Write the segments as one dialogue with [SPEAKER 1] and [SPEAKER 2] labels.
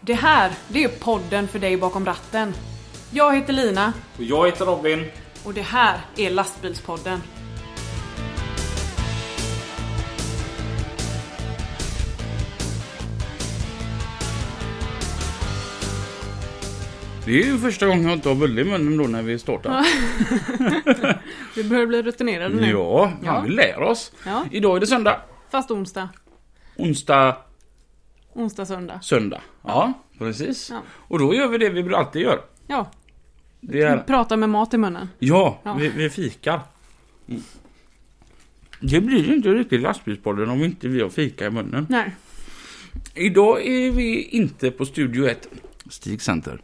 [SPEAKER 1] Det här, det är podden för dig bakom ratten. Jag heter Lina
[SPEAKER 2] Och jag heter Robin.
[SPEAKER 1] och det här är Lastbilspodden.
[SPEAKER 2] Det är ju första gången jag inte har bulle i munnen då när vi startar. Mm.
[SPEAKER 1] Vi börjar bli rutinerade nu.
[SPEAKER 2] Ja,
[SPEAKER 1] Ja.
[SPEAKER 2] ja. vi lär oss.
[SPEAKER 1] Ja.
[SPEAKER 2] Idag är det söndag.
[SPEAKER 1] Fast onsdag.
[SPEAKER 2] Onsdag,
[SPEAKER 1] Onsdag, söndag.
[SPEAKER 2] söndag. Ja, precis.
[SPEAKER 1] Ja.
[SPEAKER 2] Och då gör vi det vi alltid gör.
[SPEAKER 1] Ja,
[SPEAKER 2] Det är...
[SPEAKER 1] prata med mat i munnen.
[SPEAKER 2] Ja,
[SPEAKER 1] Ja.
[SPEAKER 2] Vi, vi fikar. Mm. Det blir ju inte riktigt lastbilspodden om inte vi har fika i munnen.
[SPEAKER 1] Nej.
[SPEAKER 2] Idag är vi inte på Studio 1, Stig Center.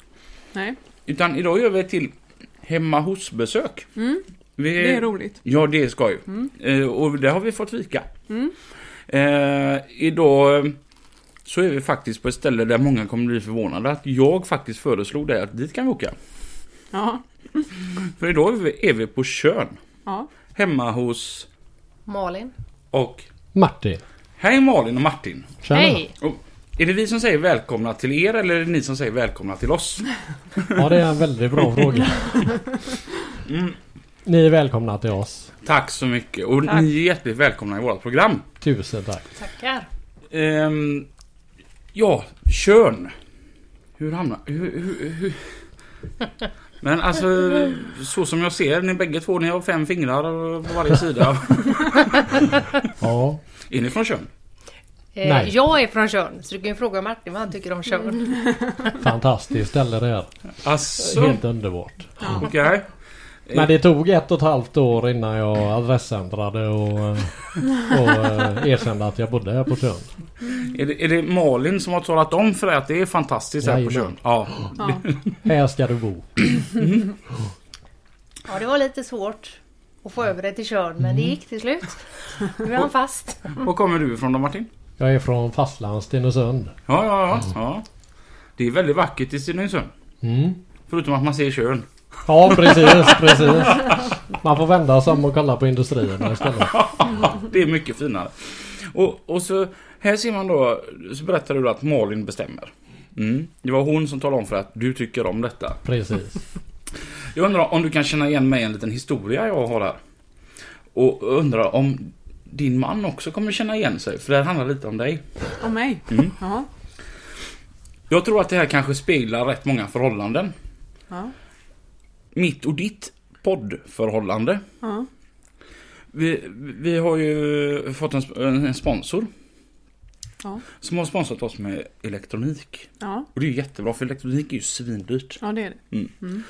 [SPEAKER 1] Nej.
[SPEAKER 2] Utan idag gör vi ett till hemma hos-besök. Vi
[SPEAKER 1] Mm. Det är roligt. Mm.
[SPEAKER 2] Ja, det är skoj. Eh, och det har vi fått vika. Eh, idag eh, så är vi faktiskt på ett ställe där många kommer bli förvånade att jag faktiskt föreslog dig att dit kan vi åka.
[SPEAKER 1] Ja.
[SPEAKER 2] För idag är vi, är vi på Tjörn.
[SPEAKER 1] Ja.
[SPEAKER 2] Hemma hos
[SPEAKER 3] Malin.
[SPEAKER 2] och...
[SPEAKER 4] Martin.
[SPEAKER 2] Hej Malin och Martin.
[SPEAKER 4] Tjena.
[SPEAKER 3] Hej!
[SPEAKER 2] Och, är det vi som säger välkomna till er eller är det ni som säger välkomna till oss?
[SPEAKER 4] Ja, det är en väldigt bra fråga. Mm. Ni är välkomna till oss.
[SPEAKER 2] Tack så mycket. Och ni är hjärtligt välkomna i vårt program.
[SPEAKER 4] Tusen tack.
[SPEAKER 3] Tackar.
[SPEAKER 2] Ehm, ja, Tjörn. Hur hamnar... Hur, hur, hur? Men alltså, så som jag ser ni bägge två, ni har fem fingrar på varje sida.
[SPEAKER 4] Ja.
[SPEAKER 2] Är ni från Tjörn?
[SPEAKER 3] Eh,
[SPEAKER 4] Nej.
[SPEAKER 3] Jag är från Tjörn, så du kan ju fråga Martin vad han tycker om Tjörn.
[SPEAKER 4] Fantastiskt ställe det här.
[SPEAKER 2] Alltså,
[SPEAKER 4] Helt underbart.
[SPEAKER 2] okej.
[SPEAKER 4] Men det tog ett och ett halvt år innan jag adressändrade och, eh, och eh, erkände att jag bodde här på Tjörn.
[SPEAKER 2] Är, det, är det Malin som har talat om för dig att det är fantastiskt här på
[SPEAKER 4] Jajamän.
[SPEAKER 2] Tjörn? Ja.
[SPEAKER 1] ja.
[SPEAKER 4] Här ska du bo.
[SPEAKER 3] Ja, det var lite svårt att få över det till Tjörn, men det
[SPEAKER 2] Mm.
[SPEAKER 3] gick till slut. Nu är han fast.
[SPEAKER 2] Var kommer du ifrån då Martin?
[SPEAKER 4] Jag är från fastland Stenungsund.
[SPEAKER 2] Ja, ja, ja. ja. Det är väldigt vackert i Stenungsund.
[SPEAKER 4] Mm.
[SPEAKER 2] Förutom att man ser Tjörn.
[SPEAKER 4] Ja precis, precis. Man får vända sig om och kolla på industrierna istället.
[SPEAKER 2] Det är mycket finare. Och, och så här ser man då, så berättar du att Malin bestämmer. Mm. Det var hon som talade om för att du tycker om detta.
[SPEAKER 4] Precis.
[SPEAKER 2] Jag undrar om du kan känna igen mig i en liten historia jag har här. Och undrar om din man också kommer känna igen sig, för det här handlar lite om dig.
[SPEAKER 1] Och mig.
[SPEAKER 4] Mm.
[SPEAKER 1] Ja.
[SPEAKER 2] Jag tror att det här kanske speglar rätt många förhållanden.
[SPEAKER 1] Ja.
[SPEAKER 2] Mitt och ditt poddförhållande.
[SPEAKER 1] Ja.
[SPEAKER 2] Vi, vi har ju fått en, sp- en sponsor.
[SPEAKER 1] Ja.
[SPEAKER 2] Som har sponsrat oss med elektronik.
[SPEAKER 1] Ja.
[SPEAKER 2] Och det är ju jättebra för elektronik är ju svindyrt.
[SPEAKER 1] Ja, det är det.
[SPEAKER 4] Mm.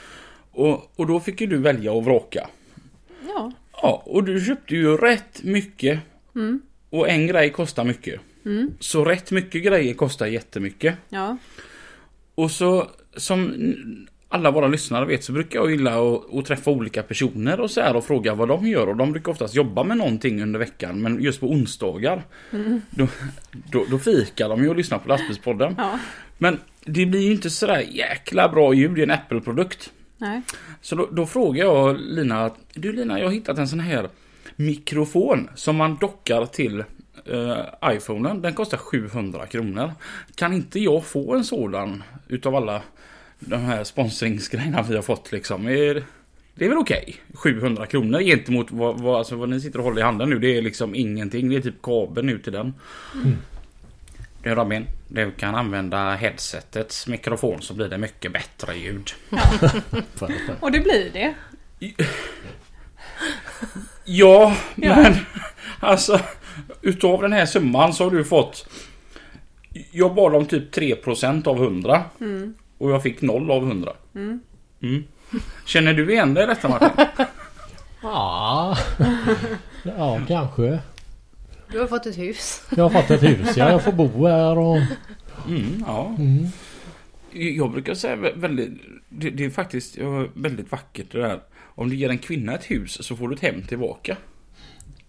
[SPEAKER 2] Och, och då fick ju du välja och vraka.
[SPEAKER 1] Ja.
[SPEAKER 2] Ja, och du köpte ju rätt mycket. Och en grej kostar mycket. Så rätt mycket grejer kostar jättemycket.
[SPEAKER 1] Ja.
[SPEAKER 2] Och så som alla våra lyssnare vet så brukar jag gilla att, att träffa olika personer och så här och fråga vad de gör och de brukar oftast jobba med någonting under veckan men just på onsdagar då, då, då fikar de ju och lyssnar på lastbilspodden.
[SPEAKER 1] Ja.
[SPEAKER 2] Men det blir ju inte sådär jäkla bra ljud i en Apple-produkt.
[SPEAKER 1] Nej.
[SPEAKER 2] Så då, då frågar jag Lina att du Lina jag har hittat en sån här mikrofon som man dockar till eh, iPhonen. Den kostar 700 kronor. Kan inte jag få en sådan utav alla de här sponsringsgrejerna vi har fått liksom? Är, det är väl okej? 700 kronor gentemot vad, vad, alltså vad ni sitter och håller i handen nu. Det är liksom ingenting. Det är typ kabeln ut till den. Du Robin, du kan använda headsetets mikrofon så blir det mycket bättre ljud.
[SPEAKER 1] Och det blir det.
[SPEAKER 2] Ja,
[SPEAKER 1] Ja.
[SPEAKER 2] men alltså utav den här summan så har du fått Jag bad om typ 3% av 100 och jag fick 0 av 100. Mm. Känner du igen dig i detta Martin?
[SPEAKER 4] Ja. Ja kanske.
[SPEAKER 3] Du har fått ett hus.
[SPEAKER 4] Jag har fått ett hus, ja, jag får bo här och...
[SPEAKER 2] Mm, ja. Jag brukar säga vä- väldigt det, det är faktiskt ja, väldigt vackert det där. Om du ger en kvinna ett hus så får du ett hem tillbaka.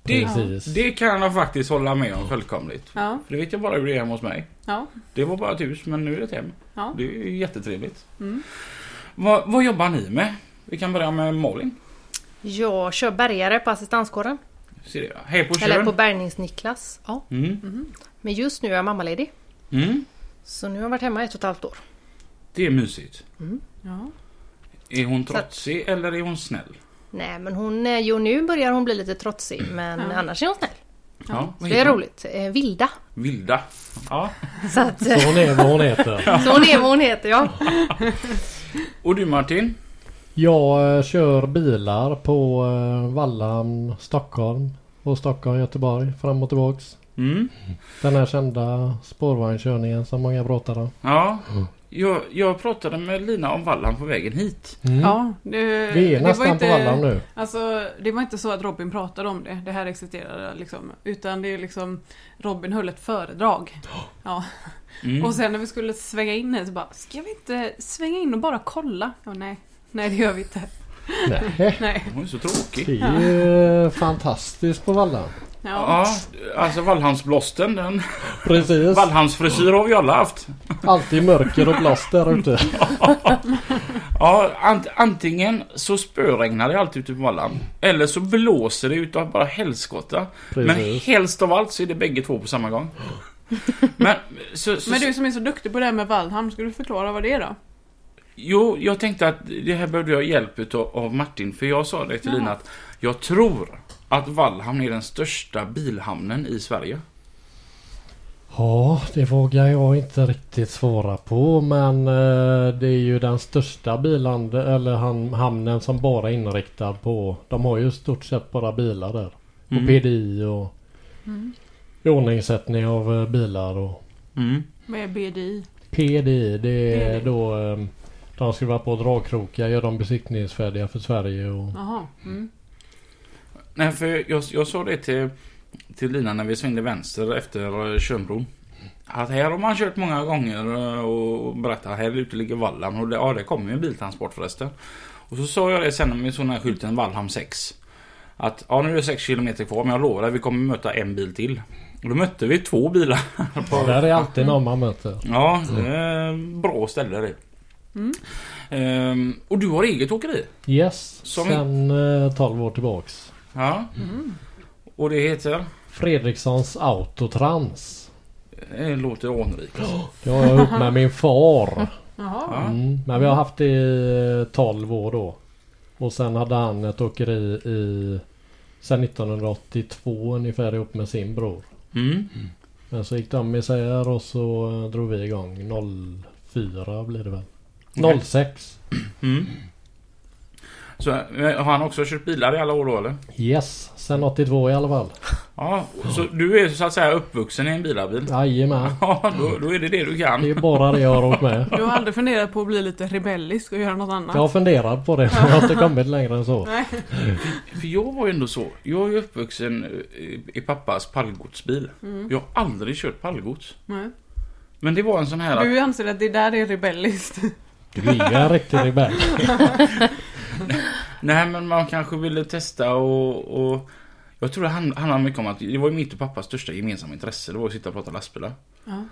[SPEAKER 2] Det,
[SPEAKER 4] Precis.
[SPEAKER 2] det kan jag faktiskt hålla med om fullkomligt.
[SPEAKER 1] Ja.
[SPEAKER 2] För det vet jag bara hur det är hemma hos mig.
[SPEAKER 1] Ja.
[SPEAKER 2] Det var bara ett hus men nu är det ett hem.
[SPEAKER 1] Ja.
[SPEAKER 2] Det är ju jättetrevligt.
[SPEAKER 3] Mm.
[SPEAKER 2] Vad, vad jobbar ni med? Vi kan börja med Malin.
[SPEAKER 3] Jag kör bärgare på assistanskåren.
[SPEAKER 2] Ser det. Hej på
[SPEAKER 3] Eller på
[SPEAKER 2] Tjörn.
[SPEAKER 3] bärgnings-Niklas. Ja.
[SPEAKER 2] Mm.
[SPEAKER 3] Men just nu är jag mammaledig.
[SPEAKER 2] Mm.
[SPEAKER 3] Så nu har jag varit hemma ett och ett halvt år.
[SPEAKER 2] Det är mysigt.
[SPEAKER 4] Mm.
[SPEAKER 1] Ja.
[SPEAKER 2] Är hon trotsig eller är hon snäll?
[SPEAKER 3] Nej men hon, är- jo nu börjar hon bli lite trotsig men
[SPEAKER 1] Ja.
[SPEAKER 3] annars är hon snäll.
[SPEAKER 2] Ja,
[SPEAKER 3] Så
[SPEAKER 2] vad
[SPEAKER 3] det är
[SPEAKER 2] heter hon?
[SPEAKER 3] roligt. Eh, Vilda.
[SPEAKER 2] Vilda. Ja.
[SPEAKER 3] Så, att, eh,
[SPEAKER 4] Så hon är vad hon heter.
[SPEAKER 3] så hon är vad hon heter ja.
[SPEAKER 2] Och du Martin?
[SPEAKER 4] Jag eh, kör bilar på eh, Vallhamn, Stockholm och Stockholm, Göteborg fram och tillbaks.
[SPEAKER 2] Mm.
[SPEAKER 4] Den här kända spårvagnskörningen som många pratar om.
[SPEAKER 2] Ja. Jag, jag pratade med Lina om Vallan på vägen hit.
[SPEAKER 4] Mm.
[SPEAKER 1] ja det,
[SPEAKER 4] Vi
[SPEAKER 1] det
[SPEAKER 4] är nästan på Vallhamn nu.
[SPEAKER 1] Alltså, det var inte så att Robin pratade om det. Det här existerade liksom. Utan det är liksom Robin höll ett föredrag. Ja.
[SPEAKER 2] Mm.
[SPEAKER 1] Och sen när vi skulle svänga in här så bara, ska vi inte svänga in och bara kolla? Ja, nej. Nej, det gör vi inte.
[SPEAKER 4] Nej.
[SPEAKER 1] Nej.
[SPEAKER 2] Hon är så tråkig.
[SPEAKER 4] Det är ju eh, fantastiskt på Vallhamn.
[SPEAKER 1] Ja.
[SPEAKER 2] Ja, alltså Vallhamnsblåsten, den
[SPEAKER 4] Precis.
[SPEAKER 2] Vallhamnsfrisyr har vi alla haft.
[SPEAKER 4] Alltid mörker och blåst där ute.
[SPEAKER 2] Ja, ant, antingen så spöregnar det alltid ute på Vallhamn. Eller så blåser det utav bara helskotta. Men
[SPEAKER 4] Precis.
[SPEAKER 2] helst av allt så är det bägge två på samma gång. Men, så, så,
[SPEAKER 1] Men du som är så duktig på det här med Valhamn, ska du förklara vad det är då?
[SPEAKER 2] Jo, jag tänkte att det här behövde jag hjälp utav, av Martin. För jag sa det till
[SPEAKER 1] Ja.
[SPEAKER 2] Lina att jag tror att Vallhamn är den största bilhamnen i Sverige.
[SPEAKER 4] Ja, det vågar jag inte riktigt svara på men eh, det är ju den största biland, eller ham- hamnen som bara är inriktad på... De har ju i stort sett bara bilar där. Och PDI och iordningssättning av eh, bilar och...
[SPEAKER 2] Mm.
[SPEAKER 1] Vad är BDI?
[SPEAKER 4] PDI det är
[SPEAKER 1] PDI.
[SPEAKER 4] då... eh, De skriver på dragkrokar, gör dem besiktningsfärdiga för Sverige och...
[SPEAKER 1] Jaha. Mm.
[SPEAKER 2] Nej, för jag, jag sa det till, till Lina när vi svängde vänster efter eh, Tjörnbron. Att här har man kört många gånger eh, och berättat här ute ligger Vallhamn och det, ja, det kommer ju en biltransport förresten. Och så sa jag det sen när vi såg den här skylten Vallhamn 6. Att ja, nu är det 6 km kvar men jag lovar dig vi kommer möta en bil till. Och då mötte vi två bilar.
[SPEAKER 4] Ja, där är alltid någon man möter.
[SPEAKER 2] Ja, det är bra ställe det. Ehm, och du har eget åkeri?
[SPEAKER 4] Yes,
[SPEAKER 2] Som-
[SPEAKER 4] sen eh, 12 år tillbaks.
[SPEAKER 2] Ja. Och det heter?
[SPEAKER 4] Fredrikssons Autotrans.
[SPEAKER 2] Det låter anrikt.
[SPEAKER 4] Jag var ihop med min far.
[SPEAKER 1] Jaha.
[SPEAKER 2] Ja.
[SPEAKER 4] Mm. Men vi har haft det i 12 år då. Och sen hade han ett åkeri i... Sen 1982 ungefär ihop med sin bror.
[SPEAKER 2] Mm.
[SPEAKER 4] Men så gick de isär och så eh, drog vi igång 04 blir det
[SPEAKER 2] Okej.
[SPEAKER 4] väl. 06.
[SPEAKER 2] Mm. Så eh, har han också kört bilar i alla år då eller?
[SPEAKER 4] Yes, sen 82 i alla fall.
[SPEAKER 2] Ja, så du är så att säga uppvuxen i en bilarbil?
[SPEAKER 4] Jajamän.
[SPEAKER 2] Ja, då, då är det det du
[SPEAKER 4] Det
[SPEAKER 2] kan.
[SPEAKER 4] är bara det jag har åkt med.
[SPEAKER 1] Du har aldrig funderat på att bli lite rebellisk och göra något annat?
[SPEAKER 4] Jag har funderat på det men jag har inte kommit längre än så.
[SPEAKER 2] För jag var ju ändå så. Jag är ju uppvuxen eh, i- i pappas pallgodsbil. Jag har aldrig kört pallgods.
[SPEAKER 1] Nej.
[SPEAKER 2] Men det var en sån här att
[SPEAKER 1] Du anser att det där är rebelliskt?
[SPEAKER 4] Du är ju en riktig rebell.
[SPEAKER 2] Nej men man kanske ville testa och, och Jag tror det hand- handlar mycket om att det var ju mitt och pappas största gemensamma intresse. Det var att sitta och prata lastbilar.
[SPEAKER 1] Ja.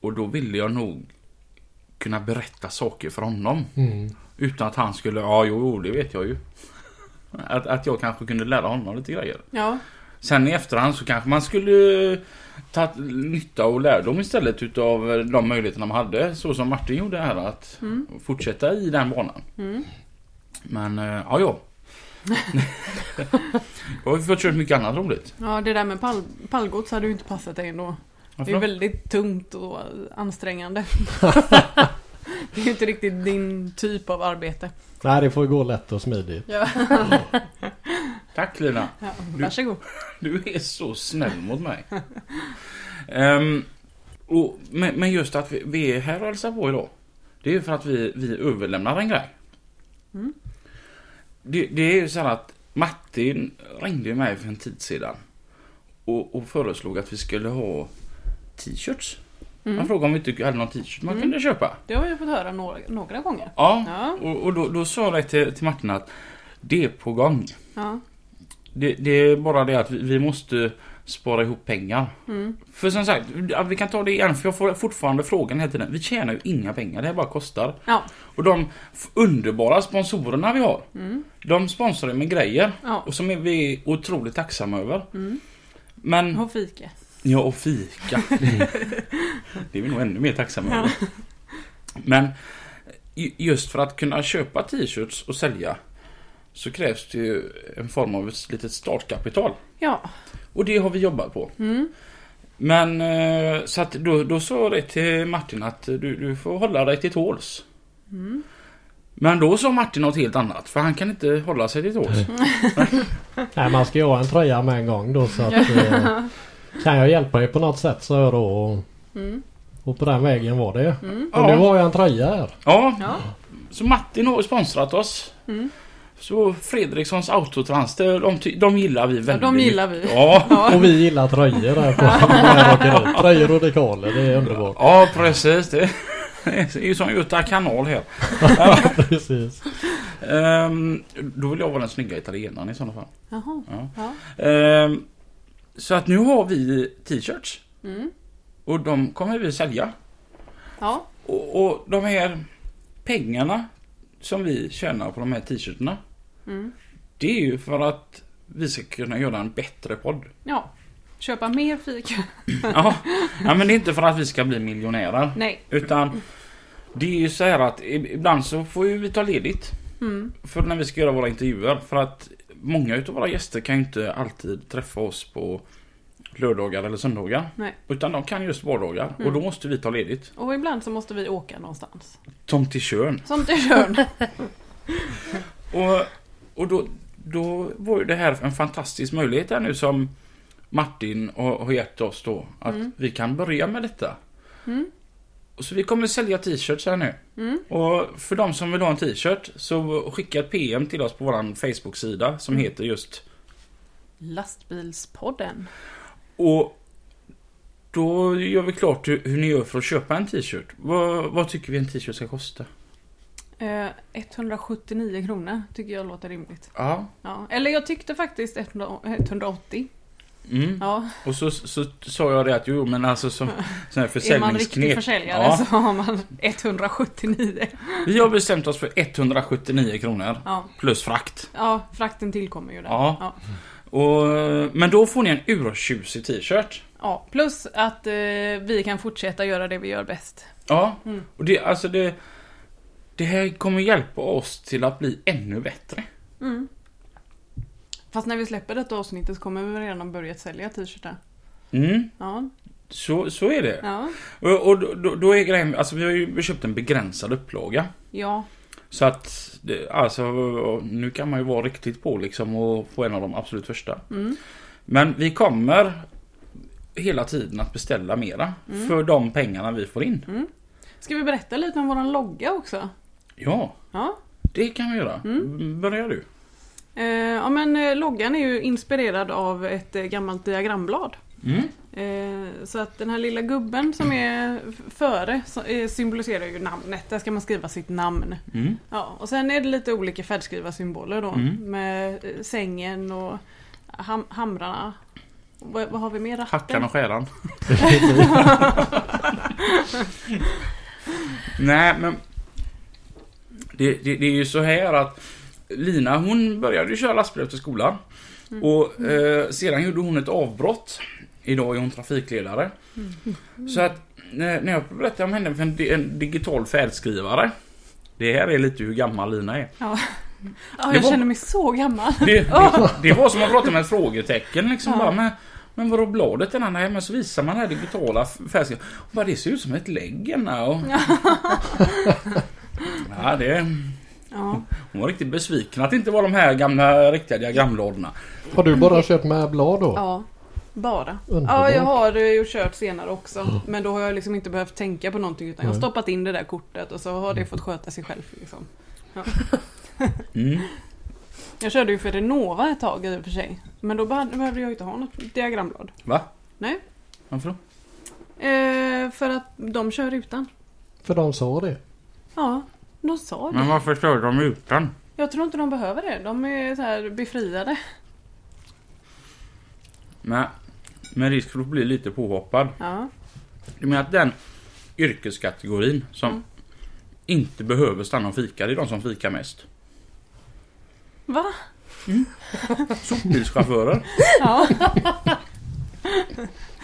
[SPEAKER 2] Och då ville jag nog kunna berätta saker för honom.
[SPEAKER 4] Mm.
[SPEAKER 2] Utan att han skulle, ja jo, jo det vet jag ju. Att, att jag kanske kunde lära honom lite grejer.
[SPEAKER 1] Ja.
[SPEAKER 2] Sen i efterhand så kanske man skulle eh, ta nytta och lärdom istället utav eh, de möjligheterna man hade. Så som Martin gjorde här att fortsätta i den banan.
[SPEAKER 1] Mm.
[SPEAKER 2] Men eh, ja, ja. jag har ju fått kört mycket annat roligt.
[SPEAKER 1] Ja, det där med pall, pallgods hade ju inte passat dig ändå.
[SPEAKER 2] Varför
[SPEAKER 1] Det är
[SPEAKER 2] då?
[SPEAKER 1] väldigt tungt och ansträngande. det är ju inte riktigt din typ av arbete.
[SPEAKER 4] Nej det får gå lätt och smidigt.
[SPEAKER 1] Ja.
[SPEAKER 2] Tack Lina.
[SPEAKER 1] Ja, varsågod.
[SPEAKER 2] Du är så snäll mot mig. Ehm, och, men, men just att vi, vi är här och hälsar på idag. Det är ju för att vi, vi överlämnar en grej.
[SPEAKER 1] Mm.
[SPEAKER 2] Det, det är ju så här att Martin ringde ju mig för en tid sedan. Och, och föreslog att vi skulle ha t-shirts. Han
[SPEAKER 1] Mm.
[SPEAKER 2] frågade om vi inte hade någon t-shirt man
[SPEAKER 1] Mm.
[SPEAKER 2] kunde köpa.
[SPEAKER 1] Det har jag fått höra några, några gånger.
[SPEAKER 2] Ja,
[SPEAKER 1] Ja.
[SPEAKER 2] och, och då, då sa jag till, till Martin att det är på gång.
[SPEAKER 1] Ja.
[SPEAKER 2] Det, det är bara det att vi, vi måste spara ihop pengar.
[SPEAKER 1] Mm.
[SPEAKER 2] För som sagt, ja, vi kan ta det igen för jag får fortfarande frågan hela tiden. Vi tjänar ju inga pengar, det här bara kostar.
[SPEAKER 1] Ja.
[SPEAKER 2] Och de f- underbara sponsorerna vi har,
[SPEAKER 1] Mm.
[SPEAKER 2] de sponsrar ju med grejer.
[SPEAKER 1] Ja.
[SPEAKER 2] Och som är vi otroligt tacksamma över.
[SPEAKER 1] Mm.
[SPEAKER 2] Men
[SPEAKER 1] Och fika.
[SPEAKER 2] Ja, och fika. det är vi nog ännu mer tacksamma över. Men ju- just för att kunna köpa t-shirts och sälja så krävs det ju en form av ett litet startkapital.
[SPEAKER 1] Ja.
[SPEAKER 2] Och det har vi jobbat på.
[SPEAKER 1] Mm.
[SPEAKER 2] Men eh, så att då, då sa jag det till Martin att eh, du, du får hålla dig till tåls.
[SPEAKER 1] Mm.
[SPEAKER 2] Men då sa Martin något helt annat för han kan inte hålla sig till tåls.
[SPEAKER 1] Mm.
[SPEAKER 4] Nej, man ska ju ha en tröja med en gång då så att... eh, Kan jag hjälpa er på något sätt så jag då. Och,
[SPEAKER 1] Mm.
[SPEAKER 4] och på den vägen var det.
[SPEAKER 1] Mm.
[SPEAKER 4] Och nu
[SPEAKER 2] Ja,
[SPEAKER 4] har jag en tröja här.
[SPEAKER 2] ja,
[SPEAKER 1] Ja.
[SPEAKER 2] så Martin har sponsrat oss.
[SPEAKER 1] Mm.
[SPEAKER 2] Så Fredrikssons autotrans, det- de, ty- de gillar vi
[SPEAKER 1] ja,
[SPEAKER 2] väldigt
[SPEAKER 1] de gillar
[SPEAKER 2] mycket.
[SPEAKER 1] vi.
[SPEAKER 2] Ja,
[SPEAKER 4] Och vi gillar tröjor här på här åker ut. Tröjor och dekaler, det är underbart.
[SPEAKER 2] ja precis. Det är ju som Göta kanal här.
[SPEAKER 4] Precis.
[SPEAKER 2] Ehm, då vill jag vara den snygga italienaren i sådana fall.
[SPEAKER 1] Jaha.
[SPEAKER 2] Ja.
[SPEAKER 1] Ja.
[SPEAKER 2] Ehm, så att nu har vi t-shirts.
[SPEAKER 1] Mm.
[SPEAKER 2] Och de kommer vi sälja.
[SPEAKER 1] Ja.
[SPEAKER 2] Och, och de här pengarna som vi tjänar på de här t-shirtarna.
[SPEAKER 1] Mm.
[SPEAKER 2] Det är ju för att vi ska kunna göra en bättre podd.
[SPEAKER 1] ja. Köpa mer fika.
[SPEAKER 2] Ja, ja men det är inte för att vi ska bli miljonärer.
[SPEAKER 1] Nej.
[SPEAKER 2] Utan det är ju så här att i- ibland så får ju vi ta ledigt.
[SPEAKER 1] Mm.
[SPEAKER 2] För när vi ska göra våra intervjuer. För att många utav våra gäster kan ju inte alltid träffa oss på lördagar eller söndagar.
[SPEAKER 1] Nej. Mm.
[SPEAKER 2] Utan de kan just vardagar. Och då måste vi ta ledigt.
[SPEAKER 1] Och ibland så måste vi åka någonstans.
[SPEAKER 2] Tom till Tjörn.
[SPEAKER 1] Som du gör.
[SPEAKER 2] Och, och då, då var ju det här en fantastisk möjlighet här nu som Martin har har gett oss då. Att vi kan börja med detta.
[SPEAKER 1] Mm.
[SPEAKER 2] Och så vi kommer sälja t-shirts här nu.
[SPEAKER 1] Mm.
[SPEAKER 2] Och för de som vill ha en t-shirt så skicka ett PM till oss på våran Facebook-sida som
[SPEAKER 1] Mm.
[SPEAKER 2] heter just
[SPEAKER 1] Lastbilspodden.
[SPEAKER 2] Och då gör vi klart hur, hur ni gör för att köpa en t-shirt. Vad, vad tycker vi en t-shirt ska kosta?
[SPEAKER 1] Eh, 179 kronor tycker jag låter rimligt.
[SPEAKER 2] Ja.
[SPEAKER 1] Ja. Eller jag tyckte faktiskt 100 180.
[SPEAKER 2] Mm.
[SPEAKER 1] Ja.
[SPEAKER 2] Och så, så, sa jag det att jo men alltså som
[SPEAKER 1] Är
[SPEAKER 2] sån här
[SPEAKER 1] man
[SPEAKER 2] försäljningsknep.
[SPEAKER 1] riktig försäljare
[SPEAKER 2] Ja.
[SPEAKER 1] så har man 179.
[SPEAKER 2] Vi har bestämt oss för 179 kronor
[SPEAKER 1] Ja.
[SPEAKER 2] plus frakt.
[SPEAKER 1] ja, frakten tillkommer ju där.
[SPEAKER 2] Ja.
[SPEAKER 1] Ja.
[SPEAKER 2] Och, men då får ni en urtjusig t-shirt.
[SPEAKER 1] Ja, plus att eh, vi kan fortsätta göra det vi gör bäst.
[SPEAKER 2] Ja.
[SPEAKER 1] Mm.
[SPEAKER 2] Och det, alltså det, det här kommer hjälpa oss till att bli ännu bättre.
[SPEAKER 1] Mm. Fast när vi släpper detta avsnittet så kommer vi redan ha börjat sälja t-shirtar.
[SPEAKER 2] Mm.
[SPEAKER 1] Ja,
[SPEAKER 2] Så, så är det.
[SPEAKER 1] ja,
[SPEAKER 2] Och, och då- då, då är grejen, alltså vi har ju köpt en begränsad upplaga.
[SPEAKER 1] ja,
[SPEAKER 2] Så att, det, alltså nu kan man ju vara riktigt på liksom och få en av de absolut första.
[SPEAKER 1] mm,
[SPEAKER 2] Men vi kommer hela tiden att beställa mera
[SPEAKER 1] Mm.
[SPEAKER 2] för de pengarna vi får in.
[SPEAKER 1] mm. Ska vi berätta lite om våran logga också?
[SPEAKER 2] Ja,
[SPEAKER 1] Ja,
[SPEAKER 2] det kan vi göra.
[SPEAKER 1] Mm.
[SPEAKER 2] Börjar du?
[SPEAKER 1] eh, ja men eh, loggan är ju inspirerad av ett eh, gammalt diagramblad.
[SPEAKER 2] Mm.
[SPEAKER 1] Eh, så att den här lilla gubben som är f- före så, eh, symboliserar ju namnet. Där ska man skriva sitt namn.
[SPEAKER 2] Mm.
[SPEAKER 1] Ja, och sen är det lite olika färdskrivarsymboler då.
[SPEAKER 2] Mm.
[SPEAKER 1] Med eh, sängen och ham- hamrarna. Och Vad, vad har vi mer? Ratten?
[SPEAKER 2] Hackan och skäran. Nej, men det, det, det är ju så här att Lina hon började ju köra lastbil efter skolan. Och eh, sedan gjorde hon ett avbrott. Idag är hon trafikledare. Så att när när jag berättade om henne för en, di- en digital färdskrivare. Det här är lite hur gammal Lina är.
[SPEAKER 1] Ja,
[SPEAKER 2] Det
[SPEAKER 1] jag
[SPEAKER 2] var-
[SPEAKER 1] känner mig så gammal.
[SPEAKER 2] Det, det, det var som att prata med ett frågetecken liksom.
[SPEAKER 1] Ja.
[SPEAKER 2] Bara, men, men vadå bladet den här? Nej men så visar man det här digitala färgen. Och bara det ser ut som ett lägg ena och... Ja, det...
[SPEAKER 1] Ja.
[SPEAKER 2] Hon var riktigt besviken att det inte var de här gamla riktiga diagramlådorna.
[SPEAKER 4] Har du bara köpt med blad då?
[SPEAKER 1] ja. Bara.
[SPEAKER 4] Underbart.
[SPEAKER 1] Ja, jag har eh, ju kört senare också. Men då har jag liksom inte behövt tänka på någonting utan jag har
[SPEAKER 4] Nej.
[SPEAKER 1] stoppat in det där kortet och så har det fått sköta sig själv. Liksom.
[SPEAKER 2] Mm.
[SPEAKER 1] Jag körde ju för Renova ett tag i och för sig. Men då behövde behövde jag ju inte ha något diagramblad.
[SPEAKER 2] Va?
[SPEAKER 1] Nej.
[SPEAKER 2] Varför då?
[SPEAKER 1] Eh, för att de kör utan.
[SPEAKER 4] För de sa det.
[SPEAKER 1] Ja, de sa det.
[SPEAKER 2] Men varför körde de utan?
[SPEAKER 1] Jag tror inte de behöver det. De är så här befriade.
[SPEAKER 2] Nej, med risk för att bli lite påhoppad.
[SPEAKER 1] Ja.
[SPEAKER 2] Du menar att den yrkeskategorin som
[SPEAKER 1] Mm.
[SPEAKER 2] inte behöver stanna och fika, det är de som fikar mest.
[SPEAKER 1] Va?
[SPEAKER 2] Sopbilschaufförer.
[SPEAKER 1] Ja.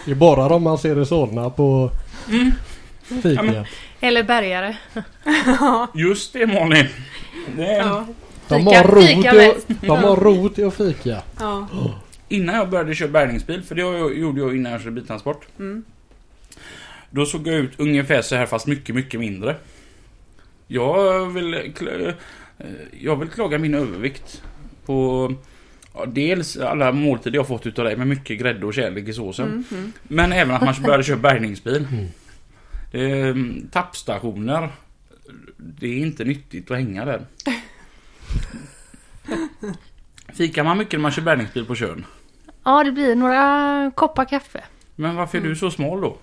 [SPEAKER 4] Det är bara de man ser i Solna på
[SPEAKER 2] Mm.
[SPEAKER 4] fika.
[SPEAKER 2] Ja, men-
[SPEAKER 3] Eller bärgare.
[SPEAKER 2] Just det Malin. Det är...
[SPEAKER 1] Ja,
[SPEAKER 4] de,
[SPEAKER 3] Fika-
[SPEAKER 4] har
[SPEAKER 3] fika
[SPEAKER 4] rot
[SPEAKER 3] mest.
[SPEAKER 4] i, de har rot i att fika.
[SPEAKER 1] ja.
[SPEAKER 2] Innan jag började köra bärgningsbil, för det har jag- gjorde jag innan jag körde biltransport.
[SPEAKER 1] Mm.
[SPEAKER 2] Då såg jag ut ungefär så här fast mycket, mycket mindre. Jag vill, kl- eh, jag vill klaga min övervikt på ja, dels alla måltider jag fått utav dig med mycket grädde och kärlek i såsen.
[SPEAKER 1] Mm, mm.
[SPEAKER 2] Men även att man började köra bärgningsbil.
[SPEAKER 4] Mm.
[SPEAKER 2] Det är, mm, tappstationer. Det är inte nyttigt att hänga där. Fikar man mycket när man kör bärgningsbil på kön?
[SPEAKER 3] Ja, det blir några koppar kaffe.
[SPEAKER 2] Men varför är du så smal då?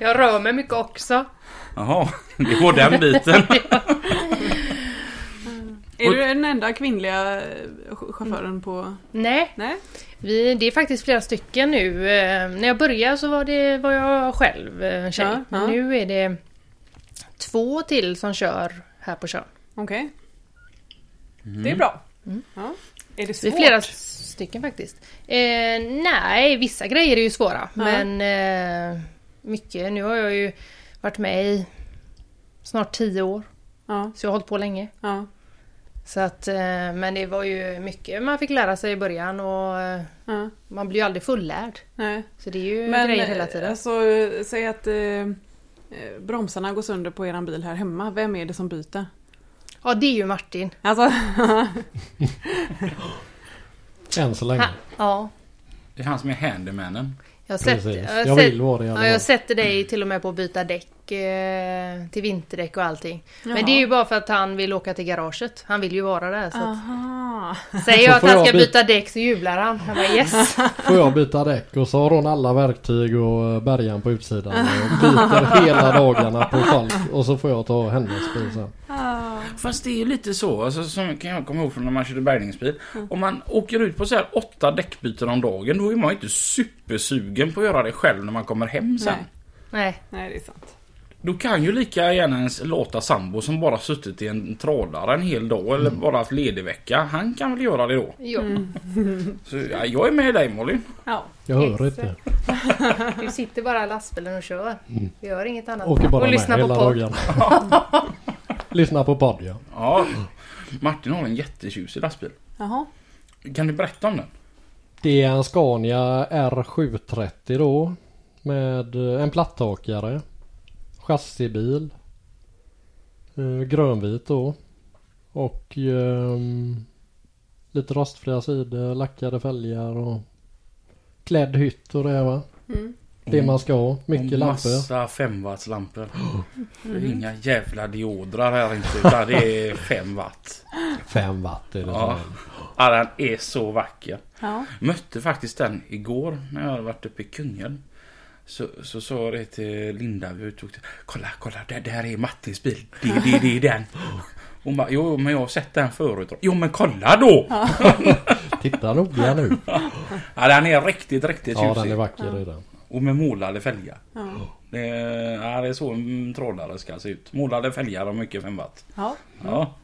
[SPEAKER 3] Jag rör mig mycket också.
[SPEAKER 2] Jaha, det var den biten.
[SPEAKER 1] Är du den enda kvinnliga eh, ch- chauffören på...
[SPEAKER 3] Nej,
[SPEAKER 1] Nej?
[SPEAKER 3] vi, det är faktiskt flera stycken nu. Eh, när jag började så var, det, var jag själv eh, tjej.
[SPEAKER 1] Ja, ja.
[SPEAKER 3] Nu är det två till som kör här på Tjörn.
[SPEAKER 1] Okej. Det är bra. Ja. Är det
[SPEAKER 3] Det är
[SPEAKER 1] svårt?
[SPEAKER 3] flera stycken faktiskt. Eh, nej, vissa grejer är ju svåra.
[SPEAKER 1] Ja.
[SPEAKER 3] Men eh, mycket. Nu har jag ju varit med i snart tio år.
[SPEAKER 1] Ja,
[SPEAKER 3] Så jag har hållit på länge.
[SPEAKER 1] ja,
[SPEAKER 3] Så att, eh, men det var ju mycket man fick lära sig i början och eh,
[SPEAKER 1] ja.
[SPEAKER 3] man blir ju aldrig fullärd.
[SPEAKER 1] Nej.
[SPEAKER 3] Så det är ju
[SPEAKER 1] Men
[SPEAKER 3] grejer hela
[SPEAKER 1] eh,
[SPEAKER 3] tiden.
[SPEAKER 1] alltså, eh, säg att eh, eh, bromsarna går sönder på eran bil här hemma. Vem är det som byter?
[SPEAKER 3] Ja, det är ju Martin.
[SPEAKER 1] Alltså,
[SPEAKER 4] Än så länge.
[SPEAKER 3] Ha, ja,
[SPEAKER 2] Det är han som är handymannen.
[SPEAKER 3] jag
[SPEAKER 4] Precis.
[SPEAKER 3] sätter,
[SPEAKER 4] Jag,
[SPEAKER 3] jag,
[SPEAKER 4] vill
[SPEAKER 3] sätter,
[SPEAKER 4] vara det i alla
[SPEAKER 3] ja, jag
[SPEAKER 4] fall.
[SPEAKER 3] sätter dig till och med på att byta däck eh, till vinterdäck och allting. Men
[SPEAKER 1] Jaha.
[SPEAKER 3] det är ju bara för att han vill åka till garaget. Han vill ju vara där. Så att,
[SPEAKER 1] aha.
[SPEAKER 3] säger jag
[SPEAKER 4] Så
[SPEAKER 3] att
[SPEAKER 4] får
[SPEAKER 3] han
[SPEAKER 4] jag
[SPEAKER 3] ska
[SPEAKER 4] byta-
[SPEAKER 3] byta däck så jublar han. Han bara yes.
[SPEAKER 4] Får jag byta däck och så har hon alla verktyg och eh, bärgaren på utsidan och byter hela dagarna på Falk och så får jag ta hennes bil sen.
[SPEAKER 2] Fast det är ju lite så, alltså, som kan jag komma ihåg från när man körde bärgningsbil. Om man åker ut på så här åtta däckbyten om dagen, då är man ju inte supersugen på att göra det själv när man kommer hem sen.
[SPEAKER 1] Nej.
[SPEAKER 3] Nej,
[SPEAKER 1] Nej, det är sant.
[SPEAKER 2] Då kan ju lika gärna ens låta sambo som bara suttit i en trålare en hel dag eller
[SPEAKER 4] Mm.
[SPEAKER 2] bara haft ledig vecka. Han kan väl göra det då.
[SPEAKER 3] jo.
[SPEAKER 2] Så ja, jag är med dig Molly.
[SPEAKER 1] Ja.
[SPEAKER 4] Jag hör
[SPEAKER 3] Exakt.
[SPEAKER 4] inte.
[SPEAKER 3] Du sitter bara i lastbilen och kör. Vi gör inget annat.
[SPEAKER 4] Mm. Åker bara
[SPEAKER 3] och
[SPEAKER 4] med
[SPEAKER 3] lyssnar
[SPEAKER 4] hela
[SPEAKER 3] på podd.
[SPEAKER 4] dagarna. Lyssna på podd ja.
[SPEAKER 2] Ja. Martin har en jättetjusig lastbil.
[SPEAKER 1] Jaha.
[SPEAKER 2] Kan du berätta om den?
[SPEAKER 4] Det är en Scania R730 då. Med eh, en platttakare. Chassibil. eh, Grönvit då. Och ehm, lite rostfria sidor, lackade fälgar och klädd hytt och det här va.
[SPEAKER 1] Mm.
[SPEAKER 4] Det man ska ha.
[SPEAKER 2] Och
[SPEAKER 4] Mycket lampor.
[SPEAKER 2] Massa femwattslampor. Mm. Inga jävla diodrar här inte utan det är fem watt.
[SPEAKER 4] Fem watt är det
[SPEAKER 2] Ja.
[SPEAKER 4] ja.
[SPEAKER 2] ja, den är så vacker.
[SPEAKER 1] Ja.
[SPEAKER 2] Mötte faktiskt den igår när jag hade varit uppe i Kungälv. Så så sa jag det till Linda, vi var ute och åkte. Kolla, kolla, det där är Mattins bil. Det, det, det är den. Hon bara, jo men jag har sett den förut. Jo men kolla då! Ja,
[SPEAKER 4] Titta noga nu.
[SPEAKER 2] den är riktigt, riktigt
[SPEAKER 4] Ja
[SPEAKER 2] tjusig.
[SPEAKER 4] den är vacker i den.
[SPEAKER 2] Och med målade fälgar.
[SPEAKER 1] Ja.
[SPEAKER 2] Det, är- ja, det är så en trålare ska se ut. Målade fälgar och mycket femwatt.
[SPEAKER 1] Ja.
[SPEAKER 2] Ja.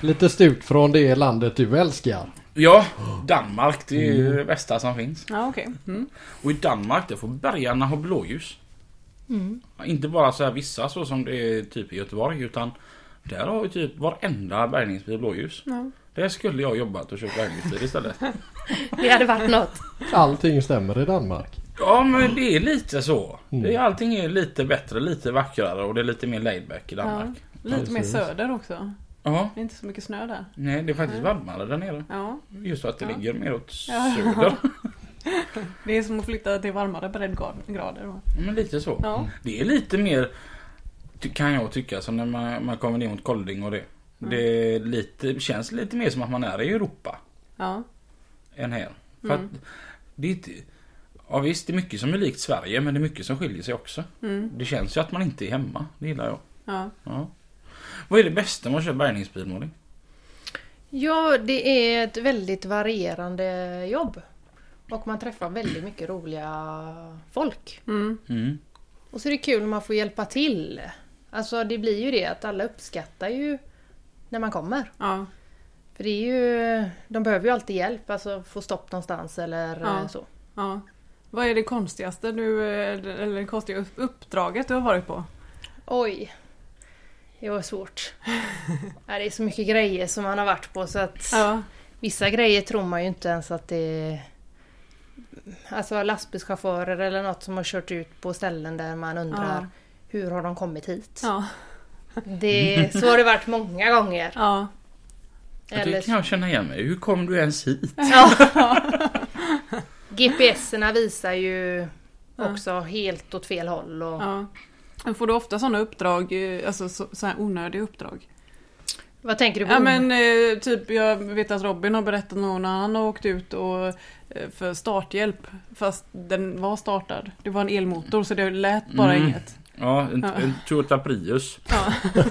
[SPEAKER 4] Lite stuk från det landet du älskar.
[SPEAKER 2] Ja, Danmark det är
[SPEAKER 4] Mm.
[SPEAKER 2] ju det bästa som finns.
[SPEAKER 1] Ja, okej. Mm.
[SPEAKER 2] Och i Danmark där får bergarna ha blåljus.
[SPEAKER 1] Mm.
[SPEAKER 2] Inte bara så här vissa så som det är typ i Göteborg utan där har ju typ varenda bärgningsbil blåljus.
[SPEAKER 1] Ja.
[SPEAKER 2] Där skulle jag jobbat och köpt bärgningsbil istället.
[SPEAKER 3] Det hade varit något.
[SPEAKER 4] Allting stämmer i Danmark.
[SPEAKER 2] Ja men det är lite så. Det är, allting är lite bättre, lite vackrare och det är lite mer laidback i
[SPEAKER 1] ja.
[SPEAKER 2] Danmark.
[SPEAKER 1] Lite mer
[SPEAKER 4] Precis.
[SPEAKER 1] söder också.
[SPEAKER 2] Ja.
[SPEAKER 1] Det är inte så mycket snö där.
[SPEAKER 2] Nej det är faktiskt varmare där nere.
[SPEAKER 1] Ja.
[SPEAKER 2] Just för att det
[SPEAKER 1] Ja.
[SPEAKER 2] ligger mer åt
[SPEAKER 1] Ja.
[SPEAKER 2] söder.
[SPEAKER 1] Det är som att flytta till varmare breddgrader. då.
[SPEAKER 2] Men Mm, lite så.
[SPEAKER 1] Ja.
[SPEAKER 2] Det är lite mer, ty- kan jag tycka, som när man, man kommer ner mot Kolding och det. Det är lite, känns lite mer som att man är i Europa
[SPEAKER 1] Ja.
[SPEAKER 2] än här. För att det är inte, ja visst, det är mycket som är likt Sverige men det är mycket som skiljer sig också.
[SPEAKER 1] Mm.
[SPEAKER 2] Det känns ju att man inte är hemma. Det gillar jag.
[SPEAKER 1] Ja.
[SPEAKER 2] Ja. Vad är det bästa med att köra bärgningsbil Malin?
[SPEAKER 3] Ja, det är ett väldigt varierande jobb. Och man träffar väldigt mycket roliga folk.
[SPEAKER 1] Mm.
[SPEAKER 2] Mm.
[SPEAKER 3] Och så är det kul när man får hjälpa till. Alltså det blir ju det att alla uppskattar ju när man kommer.
[SPEAKER 1] Ja.
[SPEAKER 3] För För det är ju, de behöver ju alltid hjälp, alltså få stopp någonstans eller
[SPEAKER 1] Ja.
[SPEAKER 3] eh, så.
[SPEAKER 1] Ja. Vad är det konstigaste du, eh, eller det konstiga upp- uppdraget du har varit på?
[SPEAKER 3] Oj. Det var svårt. ja, det är så mycket grejer som man har varit på så att
[SPEAKER 1] Ja.
[SPEAKER 3] vissa grejer tror man ju inte ens att det är... Alltså lastbilschaufförer eller något som har kört ut på ställen där man undrar
[SPEAKER 1] Ja.
[SPEAKER 3] hur har de kommit hit?
[SPEAKER 1] Ja.
[SPEAKER 3] Det, så har det varit många gånger.
[SPEAKER 1] ja.
[SPEAKER 2] Det
[SPEAKER 3] Eller,
[SPEAKER 2] kan jag känna igen mig Hur kom du ens hit?
[SPEAKER 3] GPSerna visar ju också helt åt fel håll. Och,
[SPEAKER 1] ja. Men Får du ofta sådana uppdrag, eh, alltså så, så här onödiga uppdrag?
[SPEAKER 3] Vad tänker du på?
[SPEAKER 1] Ja men eh, typ jag vet att Robin har berättat någon annan har åkt ut och eh, för starthjälp fast den var startad. Det var en elmotor så det lät bara
[SPEAKER 2] Mm.
[SPEAKER 1] inget.
[SPEAKER 2] Ja, en, en Toyota Prius.
[SPEAKER 1] Ja.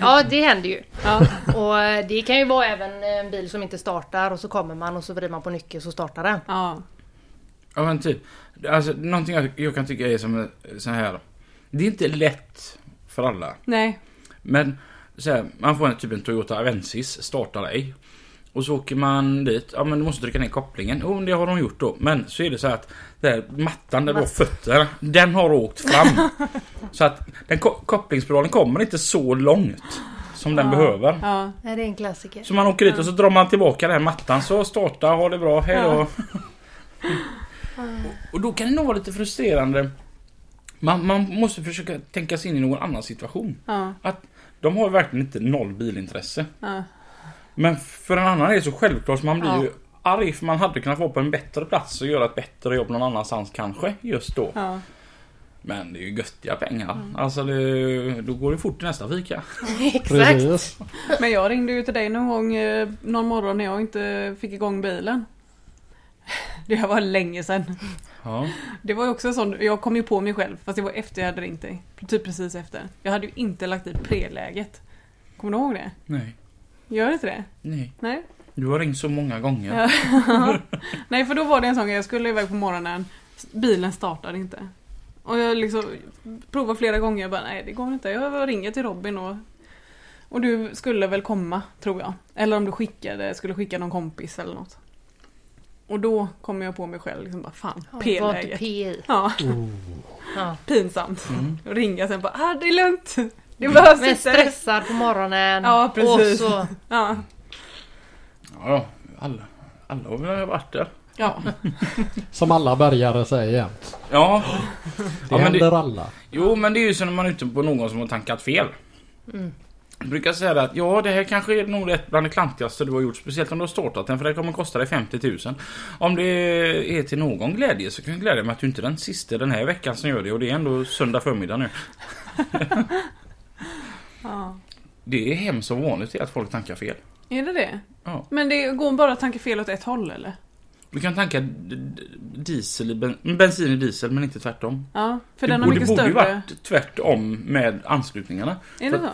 [SPEAKER 3] ja det händer ju.
[SPEAKER 1] Ja.
[SPEAKER 3] Och eh, det kan ju vara även en bil som inte startar och så kommer man och så vrider man på nyckeln så startar den.
[SPEAKER 1] Ja.
[SPEAKER 2] Ja men typ. Alltså någonting jag, jag kan tycka är som eh, så här. Det är inte lätt för alla.
[SPEAKER 1] Nej.
[SPEAKER 2] Men så här, man får en, typ en Toyota Avensis, startar ej. Och så åker man dit, ja men du måste trycka ner kopplingen. Oh, det har de gjort då. Men så är det så här att den här mattan där du har fötterna, den har åkt fram. så att den ko- kopplingspiralen kommer inte så långt som den behöver.
[SPEAKER 1] Ja.
[SPEAKER 3] Nej, det är en klassiker.
[SPEAKER 2] Så man åker dit och så drar man tillbaka den här mattan så starta, ha det bra, hej då.
[SPEAKER 1] Ja.
[SPEAKER 2] Och då kan det nog vara lite frustrerande. Man, man måste försöka tänka sig in i någon annan situation.
[SPEAKER 1] Ja.
[SPEAKER 2] Att de har verkligen inte noll bilintresse.
[SPEAKER 1] Ja.
[SPEAKER 2] Men för en annan är det så självklart så man blir
[SPEAKER 1] Ja.
[SPEAKER 2] ju arg för man hade kunnat vara på en bättre plats och göra ett bättre jobb någon annanstans kanske just då.
[SPEAKER 1] Ja.
[SPEAKER 2] Men det är ju göttiga pengar.
[SPEAKER 1] Mm.
[SPEAKER 2] Alltså det, då går det fort till nästa fika.
[SPEAKER 3] Exakt.
[SPEAKER 4] Precis.
[SPEAKER 1] Men jag ringde ju till dig någon gång, eh, någon morgon när jag inte fick igång bilen. Det här var länge sedan.
[SPEAKER 2] Ja.
[SPEAKER 1] Det var ju också en sån, jag kom ju på mig själv, fast det var efter jag hade ringt dig. Typ precis efter. Jag hade ju inte lagt i preläget. Kommer du ihåg det?
[SPEAKER 2] Nej.
[SPEAKER 1] Gör det inte det?
[SPEAKER 2] Nej.
[SPEAKER 1] Nej?
[SPEAKER 2] Du har ringt så många gånger.
[SPEAKER 1] Ja. Nej, för då var det en sån grej, jag skulle iväg på morgonen, bilen startade inte. Och jag liksom provade flera gånger, jag bara nej det går inte. Jag ringer till Robin och, och du skulle väl komma, tror jag. Eller om du skickade, skulle skicka någon kompis eller något. Och då kom jag på mig själv, liksom bara fan,
[SPEAKER 3] Var typ inte
[SPEAKER 1] p-läget.
[SPEAKER 3] P i.
[SPEAKER 1] Ja.
[SPEAKER 4] Oh.
[SPEAKER 3] Ja.
[SPEAKER 1] pinsamt.
[SPEAKER 2] Mm.
[SPEAKER 1] Och ringa sen bara ah, det är lugnt. Det behövs
[SPEAKER 3] Men
[SPEAKER 1] inte.
[SPEAKER 3] stressad på morgonen.
[SPEAKER 1] Ja, precis.
[SPEAKER 3] Och så,
[SPEAKER 1] Ja.
[SPEAKER 2] Ja, alla, alla har väl varit där.
[SPEAKER 1] Ja.
[SPEAKER 4] Som alla bergare säger jämt.
[SPEAKER 2] Ja.
[SPEAKER 4] Det
[SPEAKER 2] ja men
[SPEAKER 4] händer
[SPEAKER 2] det,
[SPEAKER 4] alla.
[SPEAKER 2] jo men det är ju så när man är ute på någon som har tankat fel.
[SPEAKER 1] Mm.
[SPEAKER 2] Jag brukar säga det att ja det här kanske är nog ett bland det klantigaste du har gjort. Speciellt om du har startat den för det kommer kosta dig 50 000. Om det är till någon glädje så kan jag glädja mig att du inte är den sista den här veckan som gör det. Och det är ändå söndag förmiddag nu.
[SPEAKER 1] ja.
[SPEAKER 2] Det är hemskt och vanligt att folk tankar fel.
[SPEAKER 1] Är det det?
[SPEAKER 2] Ja.
[SPEAKER 1] Men det går bara att tanka fel åt ett håll eller?
[SPEAKER 2] Du kan tanka d- d- diesel i ben, bensin i diesel men inte tvärtom.
[SPEAKER 1] Ja. För
[SPEAKER 2] det
[SPEAKER 1] den har
[SPEAKER 2] borde,
[SPEAKER 1] mycket
[SPEAKER 2] borde ju
[SPEAKER 1] större...
[SPEAKER 2] varit tvärtom med anslutningarna.
[SPEAKER 1] Är det så?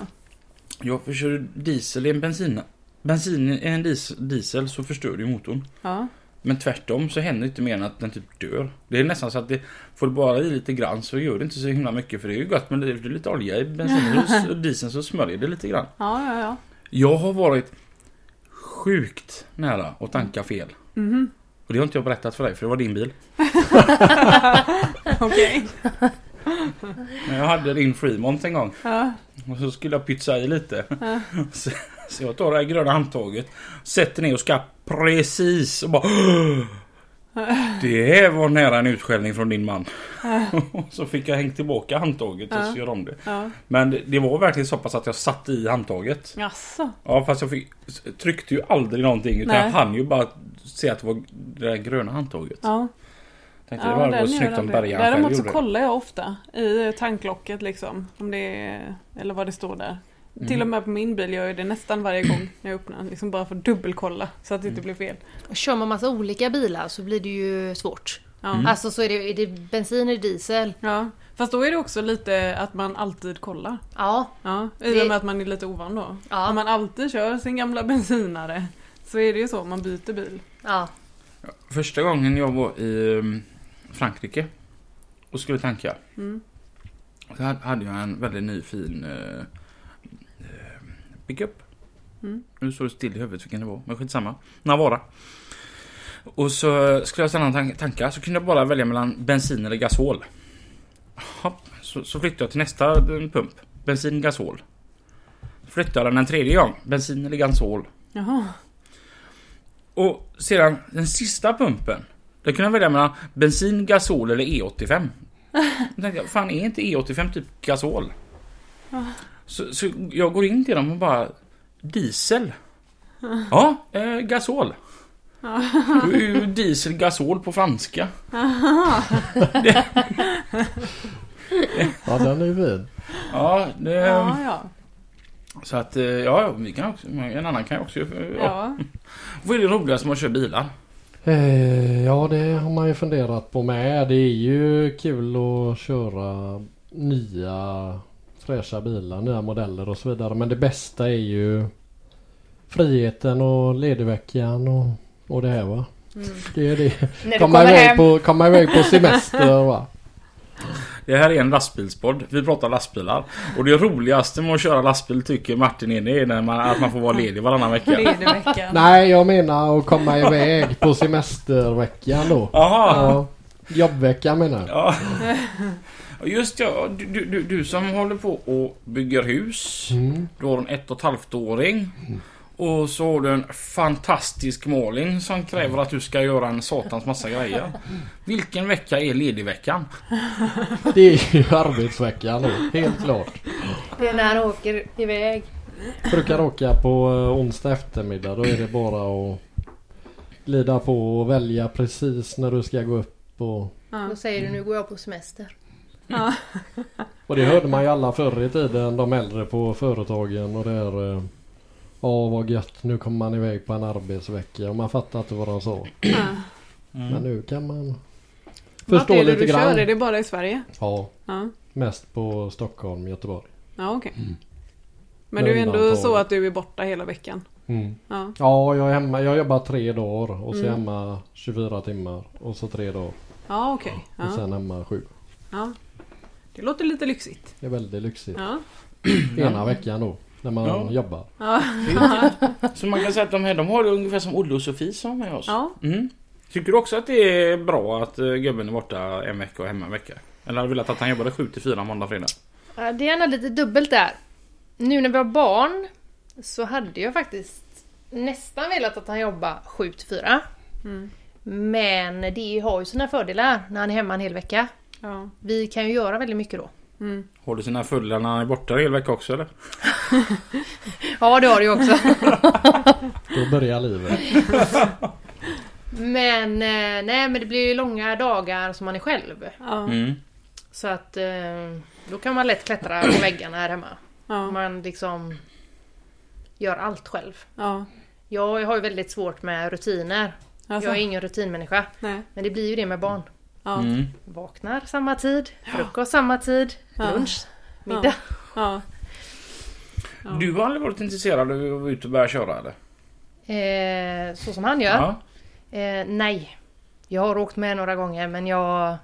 [SPEAKER 2] Ja, för kör du diesel i en bensin... Bensin i en dis, diesel så förstör du ju motorn.
[SPEAKER 1] Ja.
[SPEAKER 2] Men tvärtom så händer inte mer än att den typ dör. Det är nästan så att det... Får du bara i lite grann så gör det inte så himla mycket för det är ju gött men det är det är lite olja i bensinen och s- och dieseln så smörjer det lite grann.
[SPEAKER 1] Ja, ja, ja.
[SPEAKER 2] Jag har varit sjukt nära att tanka fel.
[SPEAKER 1] Mhm.
[SPEAKER 2] Och det har inte jag berättat för dig för det var din bil.
[SPEAKER 1] Okej.
[SPEAKER 2] Men jag hade din Fremont en gång
[SPEAKER 1] Ja.
[SPEAKER 2] och så skulle jag pytsa i lite. Så, så jag tar det här gröna handtaget, sätter ner och ska precis och bara... Det här var nära en utskällning från din man. Och så fick jag hängt tillbaka handtaget och
[SPEAKER 1] Ja.
[SPEAKER 2] så gör om det.
[SPEAKER 1] Ja.
[SPEAKER 2] Men det- det var verkligen så pass att jag satte i handtaget.
[SPEAKER 1] Jaså?
[SPEAKER 2] Ja fast jag fick, tryckte ju aldrig någonting utan
[SPEAKER 1] Nej.
[SPEAKER 2] jag hann ju bara se att det var det där gröna handtaget.
[SPEAKER 1] Ja.
[SPEAKER 2] Tänkte
[SPEAKER 1] ja,
[SPEAKER 2] det var,
[SPEAKER 1] den
[SPEAKER 2] var
[SPEAKER 1] gör
[SPEAKER 2] snyggt om
[SPEAKER 1] aldrig.
[SPEAKER 2] bärgaren
[SPEAKER 1] Däremot
[SPEAKER 2] själv
[SPEAKER 1] så
[SPEAKER 2] gjorde det.
[SPEAKER 1] kollar jag ofta i eh, tanklocket liksom. Om det är, eller vad det står där.
[SPEAKER 2] Mhm.
[SPEAKER 1] Till och med på min bil gör jag det nästan varje gång när jag öppnar den. Liksom bara för att dubbelkolla så att det
[SPEAKER 2] Mm.
[SPEAKER 1] inte blir fel.
[SPEAKER 3] och kör man massa olika bilar så blir det ju svårt.
[SPEAKER 1] Ja.
[SPEAKER 2] Mm.
[SPEAKER 3] Alltså så är det, är det bensin eller diesel?
[SPEAKER 1] Ja, fast då är det också lite att man alltid kollar.
[SPEAKER 3] Ja,
[SPEAKER 1] Ja, I och
[SPEAKER 3] Det-
[SPEAKER 1] med att man är lite ovan då.
[SPEAKER 3] Ja.
[SPEAKER 1] Om man alltid kör sin gamla bensinare så är det ju så, man byter bil.
[SPEAKER 3] ja.
[SPEAKER 2] Första gången jag var i ehm, Frankrike och skulle tanka.
[SPEAKER 1] Mm.
[SPEAKER 2] Så hade- hade jag en väldigt ny fin eh, eh, pickup.
[SPEAKER 1] Mm.
[SPEAKER 2] Nu står det still i huvudet vilken det var, men skitsamma. Navara. Och så skulle jag ställa en tan- tanka så kunde jag bara välja mellan bensin eller gasol. Hopp, så, så flyttade jag till nästa eh, pump. Bensin, gasol. Flyttade den en tredje gång. Bensin eller gasol.
[SPEAKER 1] Jaha.
[SPEAKER 2] Och sedan den sista pumpen. Där kunde jag välja mellan bensin, gasol eller E85. Då tänkte jag, fan är inte E85 typ gasol? Så, så jag går in till dem och bara, diesel? Ja, eh, gasol. Då är ju diesel gasol på franska.
[SPEAKER 4] Ja, den är ju fin.
[SPEAKER 2] Ja, det,
[SPEAKER 4] Ehm,
[SPEAKER 1] Ja, ja.
[SPEAKER 2] så att eh, ja, vi kan också, en annan kan jag också eh, ja.
[SPEAKER 1] Ja.
[SPEAKER 2] Vad är det roligaste med att köra bilar?
[SPEAKER 4] Eh, Ja, det har man ju funderat på med. Det är ju kul att köra nya fräscha bilar, nya modeller och så vidare. Men det bästa är ju friheten och ledigveckan och, och det här va. Det är det.
[SPEAKER 3] Mm. När du
[SPEAKER 4] Komma
[SPEAKER 3] kommer
[SPEAKER 4] iväg,
[SPEAKER 3] hem.
[SPEAKER 4] på, komma iväg på semester va.
[SPEAKER 2] Det här är en lastbilspodd. Vi pratar lastbilar. Och det roligaste med att köra lastbil tycker Martin är det är när man, att man får vara ledig varannan vecka.
[SPEAKER 1] Ledig vecka.
[SPEAKER 4] Nej, jag menar att komma iväg på semesterveckan då.
[SPEAKER 2] Jaha!
[SPEAKER 4] Ja, jobbveckan menar jag.
[SPEAKER 2] Ja. Och Just ja, du, du, du- du som håller på och bygger hus.
[SPEAKER 4] Mm.
[SPEAKER 2] Du har en ett och ett halvt åring. Och så har du en fantastisk Malin som kräver att du ska göra en satans massa grejer. Vilken vecka är ledigveckan?
[SPEAKER 4] Det är ju arbetsveckan då, helt klart.
[SPEAKER 3] Det är när han åker iväg.
[SPEAKER 4] brukar åka på eh, onsdag eftermiddag. Då är det bara att glida på och välja precis när du ska gå upp. Och,
[SPEAKER 1] Ja.
[SPEAKER 3] Då säger du nu går jag på semester.
[SPEAKER 4] och det hörde man ju alla förr i tiden, de äldre på företagen och där. eh, Ja vad gött, nu kommer man iväg på en arbetsvecka och man fattar inte vad de sa. Men nu kan man
[SPEAKER 1] Vart
[SPEAKER 4] förstå
[SPEAKER 1] är det
[SPEAKER 4] lite
[SPEAKER 1] du kör? Är
[SPEAKER 4] grann.
[SPEAKER 1] det bara i Sverige?
[SPEAKER 4] Ja,
[SPEAKER 1] Ja,
[SPEAKER 4] mest på Stockholm, Göteborg.
[SPEAKER 1] ja okej.
[SPEAKER 4] Mm.
[SPEAKER 1] Men
[SPEAKER 4] Med
[SPEAKER 1] du är ändå
[SPEAKER 4] undantag.
[SPEAKER 1] så att du är borta hela veckan?
[SPEAKER 4] Mm.
[SPEAKER 1] Ja.
[SPEAKER 4] Ja, jag är hemma. Jag jobbar tre dagar och så är jag
[SPEAKER 1] Mm.
[SPEAKER 4] hemma 24 timmar och så tre dagar
[SPEAKER 1] Ja, okej.
[SPEAKER 4] och
[SPEAKER 1] Ja.
[SPEAKER 4] sen hemma sju.
[SPEAKER 1] Ja. Det låter lite lyxigt.
[SPEAKER 4] Det är väldigt lyxigt.
[SPEAKER 1] Ja.
[SPEAKER 4] Ena veckan då. När man
[SPEAKER 2] Ja.
[SPEAKER 4] jobbar.
[SPEAKER 2] Så man kan säga att de här de har det ungefär som Olle och Sofie som är med oss.
[SPEAKER 1] Ja.
[SPEAKER 2] Mm. Tycker du också att det är bra att eh, gubben är borta en vecka och hemma en vecka? Eller hade du velat att han jobbade 7 till 4 måndag fredag?
[SPEAKER 3] Ja, Det är ändå lite dubbelt där. Nu när vi har barn så hade jag faktiskt nästan velat att han jobbar 7 till 4.
[SPEAKER 1] Mm.
[SPEAKER 3] Men det har ju sina fördelar när han är hemma en hel vecka.
[SPEAKER 1] Ja.
[SPEAKER 3] Vi kan ju göra väldigt mycket då.
[SPEAKER 1] Mm.
[SPEAKER 2] Håller sina fördelar när han är borta en hel vecka också eller?
[SPEAKER 3] Ja, det har du ju också.
[SPEAKER 4] Då börjar livet.
[SPEAKER 3] Men eh, nej, men det blir ju långa dagar som man är själv.
[SPEAKER 1] Ja.
[SPEAKER 2] Mm.
[SPEAKER 3] Så att eh, då kan man lätt klättra på väggarna här hemma.
[SPEAKER 1] Ja.
[SPEAKER 3] Man liksom gör allt själv.
[SPEAKER 1] Ja.
[SPEAKER 3] Jag har ju väldigt svårt med rutiner.
[SPEAKER 1] Alltså,
[SPEAKER 3] Jag är ingen rutinmänniska.
[SPEAKER 1] nej.
[SPEAKER 3] Men det blir ju det med barn.
[SPEAKER 1] Ja.
[SPEAKER 2] Mm.
[SPEAKER 3] Vaknar samma tid, frukost samma tid,
[SPEAKER 1] Ja.
[SPEAKER 3] lunch, middag.
[SPEAKER 1] Ja. Ja.
[SPEAKER 2] Du har aldrig varit intresserad av att vara ute och börja köra eller?
[SPEAKER 3] Eh, så som han gör. Eh, nej. Jag har åkt med några gånger men jag...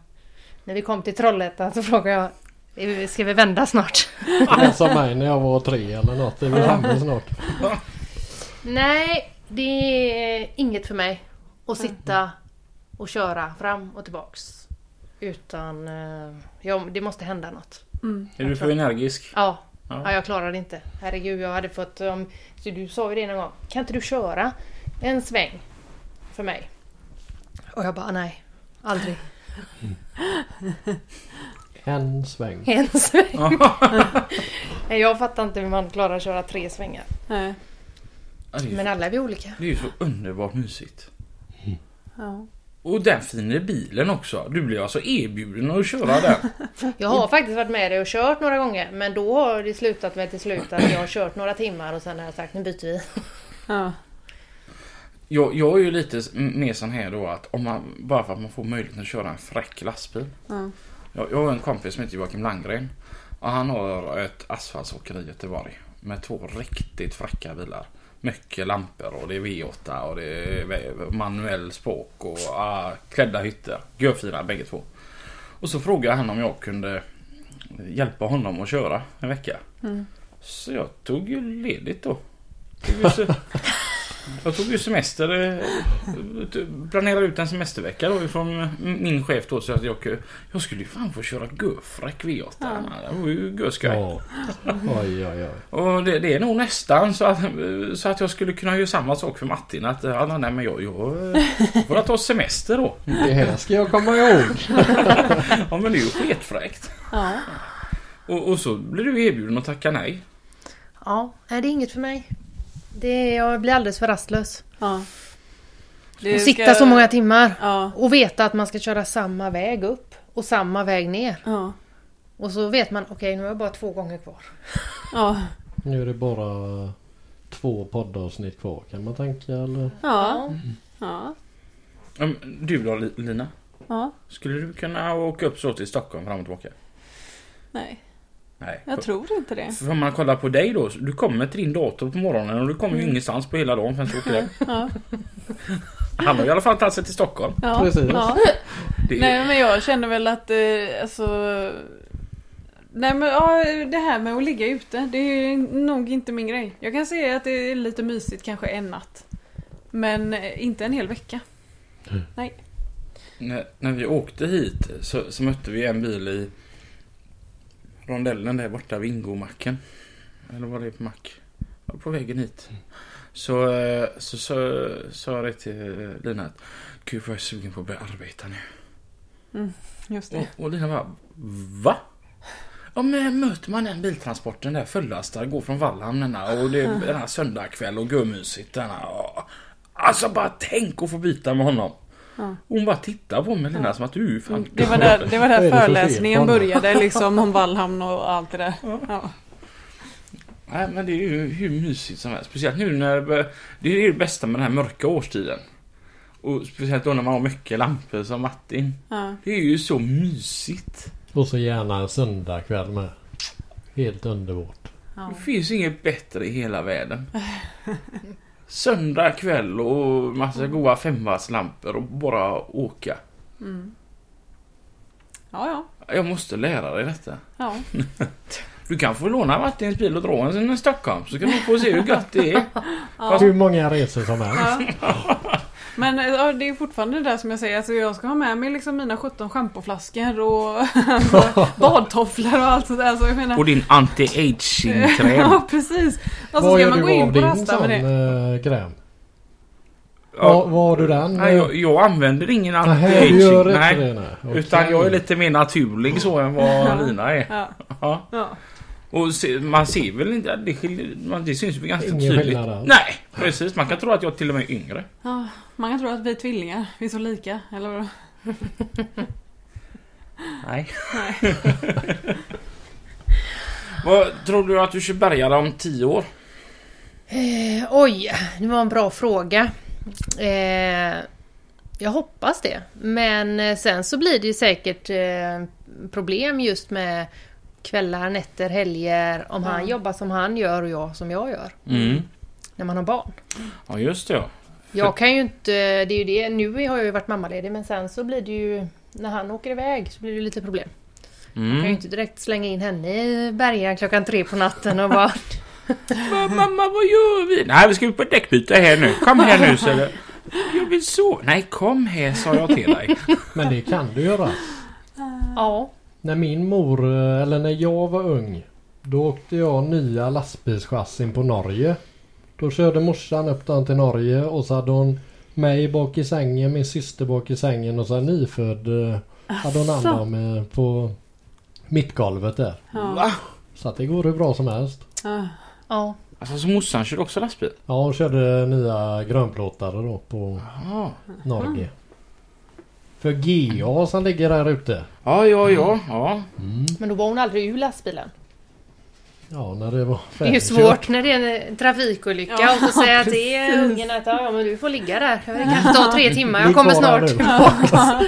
[SPEAKER 3] När vi kom till Trollhättan så frågade jag "Eh, Ska vi vända snart?
[SPEAKER 4] Det är som mig när jag var tre eller något. Det är väl framme snart.
[SPEAKER 3] Nej, det är inget för mig. Att sitta och köra fram och tillbaks. Utan... Eh, ja, det måste hända något.
[SPEAKER 1] Mm.
[SPEAKER 2] Är du för energisk?
[SPEAKER 3] Ja.
[SPEAKER 2] Ja.
[SPEAKER 3] Ja. jag klarar det inte. Herregud, jag hade fått... Um, så du sa ju det någon gång. Kan inte du köra en sväng för mig? Och jag bara, nej. Aldrig.
[SPEAKER 4] En sväng.
[SPEAKER 3] En sväng. Nej, jag fattar inte hur man klarar att köra tre svängar.
[SPEAKER 1] Nej.
[SPEAKER 2] Ja, det, är ju,
[SPEAKER 3] Men alla är vi olika.
[SPEAKER 2] Alltså, det är ju så underbart mysigt.
[SPEAKER 1] Ja.
[SPEAKER 2] Och den fina bilen också. Du blir alltså erbjuden att köra den.
[SPEAKER 3] Jag har faktiskt varit med dig och kört några gånger men då har det slutat med till slut att jag har kört några timmar och sen har jag sagt nu byter vi.
[SPEAKER 1] Ja.
[SPEAKER 2] Jag, jag är ju lite s- mer sån här då att om man, bara för att man får möjligheten att köra en fräck lastbil.
[SPEAKER 1] Ja.
[SPEAKER 2] Jag, jag har en kompis som heter Joakim Landgren. Och han har ett asfaltsåkeri i Göteborg. Med två riktigt fräcka bilar. Mycket lampor och det är V8 och det är vä- manuell spåk och ah, klädda hytter. Görfina bägge två. Och så frågade han om jag kunde hjälpa honom att köra en vecka.
[SPEAKER 1] Mm.
[SPEAKER 2] Så jag tog ju ledigt då. tog ju se- Jag tog ju semester. eh, Planerade ut en semestervecka då ifrån eh, min chef då. Så att jag, ku- jag skulle ju fan få köra Gufrak V8. Det var ju görskoj.
[SPEAKER 4] Ja. Oj, oj, oj.
[SPEAKER 2] Och det, det är nog nästan så att, så att jag skulle kunna göra samma sak för Martin. Att ja, nej, men jag, jag eh, får ta semester då.
[SPEAKER 4] Det här ska jag komma ihåg.
[SPEAKER 2] Ja men det är ju sketfräckt.
[SPEAKER 1] Ja.
[SPEAKER 2] Och, och så blir du erbjuden att tacka nej.
[SPEAKER 3] Ja, nej, det är inget för mig. Det är, jag blir alldeles för rastlös.
[SPEAKER 1] ja. Det
[SPEAKER 3] Och sitta så många timmar.
[SPEAKER 1] Ja.
[SPEAKER 3] Och veta att man ska köra samma väg upp och samma väg ner.
[SPEAKER 1] Ja.
[SPEAKER 3] Och så vet man, okej nu har jag bara två gånger kvar.
[SPEAKER 1] Ja.
[SPEAKER 4] Nu är det bara två poddavsnitt kvar kan man tänka eller?
[SPEAKER 1] Ja. Ja.
[SPEAKER 2] Ja, men Du då Li- Lina?
[SPEAKER 1] Ja.
[SPEAKER 2] Skulle du kunna åka upp så till Stockholm fram och tillbaka?
[SPEAKER 1] Nej,
[SPEAKER 2] Nej.
[SPEAKER 1] jag tror inte det.
[SPEAKER 2] För om man kollar på dig då, så du kommer till din dator på morgonen och du kommer ju ingenstans på hela dagen förrän du åker hem.
[SPEAKER 1] Mm. Ja.
[SPEAKER 2] Han har i alla fall tagit sig till Stockholm.
[SPEAKER 1] Ja.
[SPEAKER 4] Precis.
[SPEAKER 1] Ja.
[SPEAKER 2] Det är,
[SPEAKER 1] Nej men jag känner väl att eh, alltså Nej men ja, det här med att ligga ute det är nog inte min grej. Jag kan säga att det är lite mysigt kanske en natt. Men eh, inte en hel vecka.
[SPEAKER 2] när, när vi åkte hit så, så mötte vi en bil i rondellen där borta vid Ingomacken. Eller var det på mack? Ja, På vägen hit. Så eh, så sa så, så jag det till eh, Lina att Gud vad jag är sugen på att börja arbeta nu.
[SPEAKER 1] Just det.
[SPEAKER 2] Och, och Lina bara Va? Ja men möter man den biltransporten där fullastad, går från Vallhamn denna och det är den här söndagkväll och gummysigt denna. Ja. Alltså bara tänk att få byta med honom.
[SPEAKER 1] Ja. Mm,
[SPEAKER 2] Hon bara tittar på mig Lina som att du är fan
[SPEAKER 1] Det var där, det var där
[SPEAKER 4] Vad är det för fel på
[SPEAKER 1] föreläsningen
[SPEAKER 4] honom?
[SPEAKER 1] började liksom om Vallhamn och allt det där. Ja.
[SPEAKER 2] Nej men det är ju hur mysigt som helst. Speciellt nu när det bör- det är ju det bästa med den här mörka årstiden. Och speciellt då när man har mycket lampor som Martin.
[SPEAKER 1] Ja.
[SPEAKER 2] Det är ju så mysigt.
[SPEAKER 4] Och så gärna en söndagkväll med. Helt underbart.
[SPEAKER 1] Ja.
[SPEAKER 2] Det finns inget bättre i hela världen. Söndag kväll och massa goa femvarvslampor och bara åka.
[SPEAKER 1] Ja, ja.
[SPEAKER 2] Jag måste lära dig detta.
[SPEAKER 1] Ja.
[SPEAKER 2] Du kan få låna Martins bil och dra en till Stockholm så kan du få se hur gött det är.
[SPEAKER 4] Hur många resor som helst.
[SPEAKER 1] Men eh, ja, det är fortfarande det där som jag säger, alltså jag ska ha med mig liksom mina 17 schampoflaskor och alltså, badtofflor och allt sånt där. Alltså, jag menar,
[SPEAKER 2] Och din anti-aging-kräm.
[SPEAKER 1] Ja precis! Och så
[SPEAKER 4] Vad
[SPEAKER 1] Alltså, ska
[SPEAKER 4] gör
[SPEAKER 1] man gå
[SPEAKER 4] du av
[SPEAKER 1] in på
[SPEAKER 4] din
[SPEAKER 1] rasta
[SPEAKER 4] sån
[SPEAKER 1] med det.
[SPEAKER 4] eh, gräm? Var,
[SPEAKER 2] Ja.
[SPEAKER 4] var har du den?
[SPEAKER 2] Nej, jag, jag använder ingen
[SPEAKER 4] Nej, du gör
[SPEAKER 2] anti-aging.
[SPEAKER 4] inte
[SPEAKER 2] Nej.
[SPEAKER 4] det nej. Okej.
[SPEAKER 2] Utan jag är lite mer naturlig så än vad Lina är.
[SPEAKER 1] Ja,
[SPEAKER 2] Ja.
[SPEAKER 1] ja.
[SPEAKER 2] Och se, man ser väl inte, det, skiljer, man, det syns väl ganska
[SPEAKER 4] Ingen
[SPEAKER 2] tydligt.
[SPEAKER 4] skillnad alls.
[SPEAKER 2] Nej, precis. Man kan tro att jag till och med är yngre.
[SPEAKER 1] ja. Man kan tro att vi är tvillingar, vi är så lika, eller vadå?
[SPEAKER 2] Nej.
[SPEAKER 1] Nej.
[SPEAKER 2] Vad tror du att du kör bärgare om tio år?
[SPEAKER 3] Eh, oj, det var en bra fråga. Eh, jag hoppas det. Men eh, sen så blir det ju säkert eh, problem just med kvällar, nätter, helger. Om han jobbar som han gör och jag som jag gör.
[SPEAKER 2] Mm.
[SPEAKER 3] När man har barn.
[SPEAKER 2] Ja, just det ja.
[SPEAKER 3] Jag kan ju inte... Det är ju det. Nu har jag ju varit mammaledig men sen så blir det ju... När han åker iväg så blir det lite problem. Jag kan ju
[SPEAKER 2] Mm.
[SPEAKER 3] inte direkt slänga in henne i bergen klockan tre på natten och bara...
[SPEAKER 2] Va, mamma, vad gör vi? Nej, vi ska ut på däckbyte här nu. Kom här nu, säger du. Jag vill så. Nej, kom här, sa jag till dig.
[SPEAKER 4] Men det kan du göra.
[SPEAKER 3] ja.
[SPEAKER 4] När min mor, eh, eller när jag var ung. Då åkte jag nya lastbilschassin på Norge. Då körde morsan upp den till Norge och så hade hon mig bak i sängen, min syster bak i sängen och så en nyfödd eh, hade hon hand om eh, på mittgolvet där.
[SPEAKER 1] Ja.
[SPEAKER 4] Så att det går hur bra som helst.
[SPEAKER 1] Ja.
[SPEAKER 3] Ja.
[SPEAKER 2] Alltså, så morsan kör också lastbil?
[SPEAKER 4] Ja hon körde nya grönplåtare då på
[SPEAKER 2] Ja,
[SPEAKER 4] Norge. För GA som ligger där ute.
[SPEAKER 2] ja, ja. ja, ja.
[SPEAKER 3] Men då var hon aldrig ur lastbilen.
[SPEAKER 4] Ja när det var
[SPEAKER 3] Det är ju svårt när det är en eh, trafikolycka
[SPEAKER 1] Ja,
[SPEAKER 3] och så säga till ungen att ja, men du får ligga där. Det kan ta tre timmar, jag
[SPEAKER 4] Ligg
[SPEAKER 3] kommer
[SPEAKER 4] kvar där
[SPEAKER 3] snart.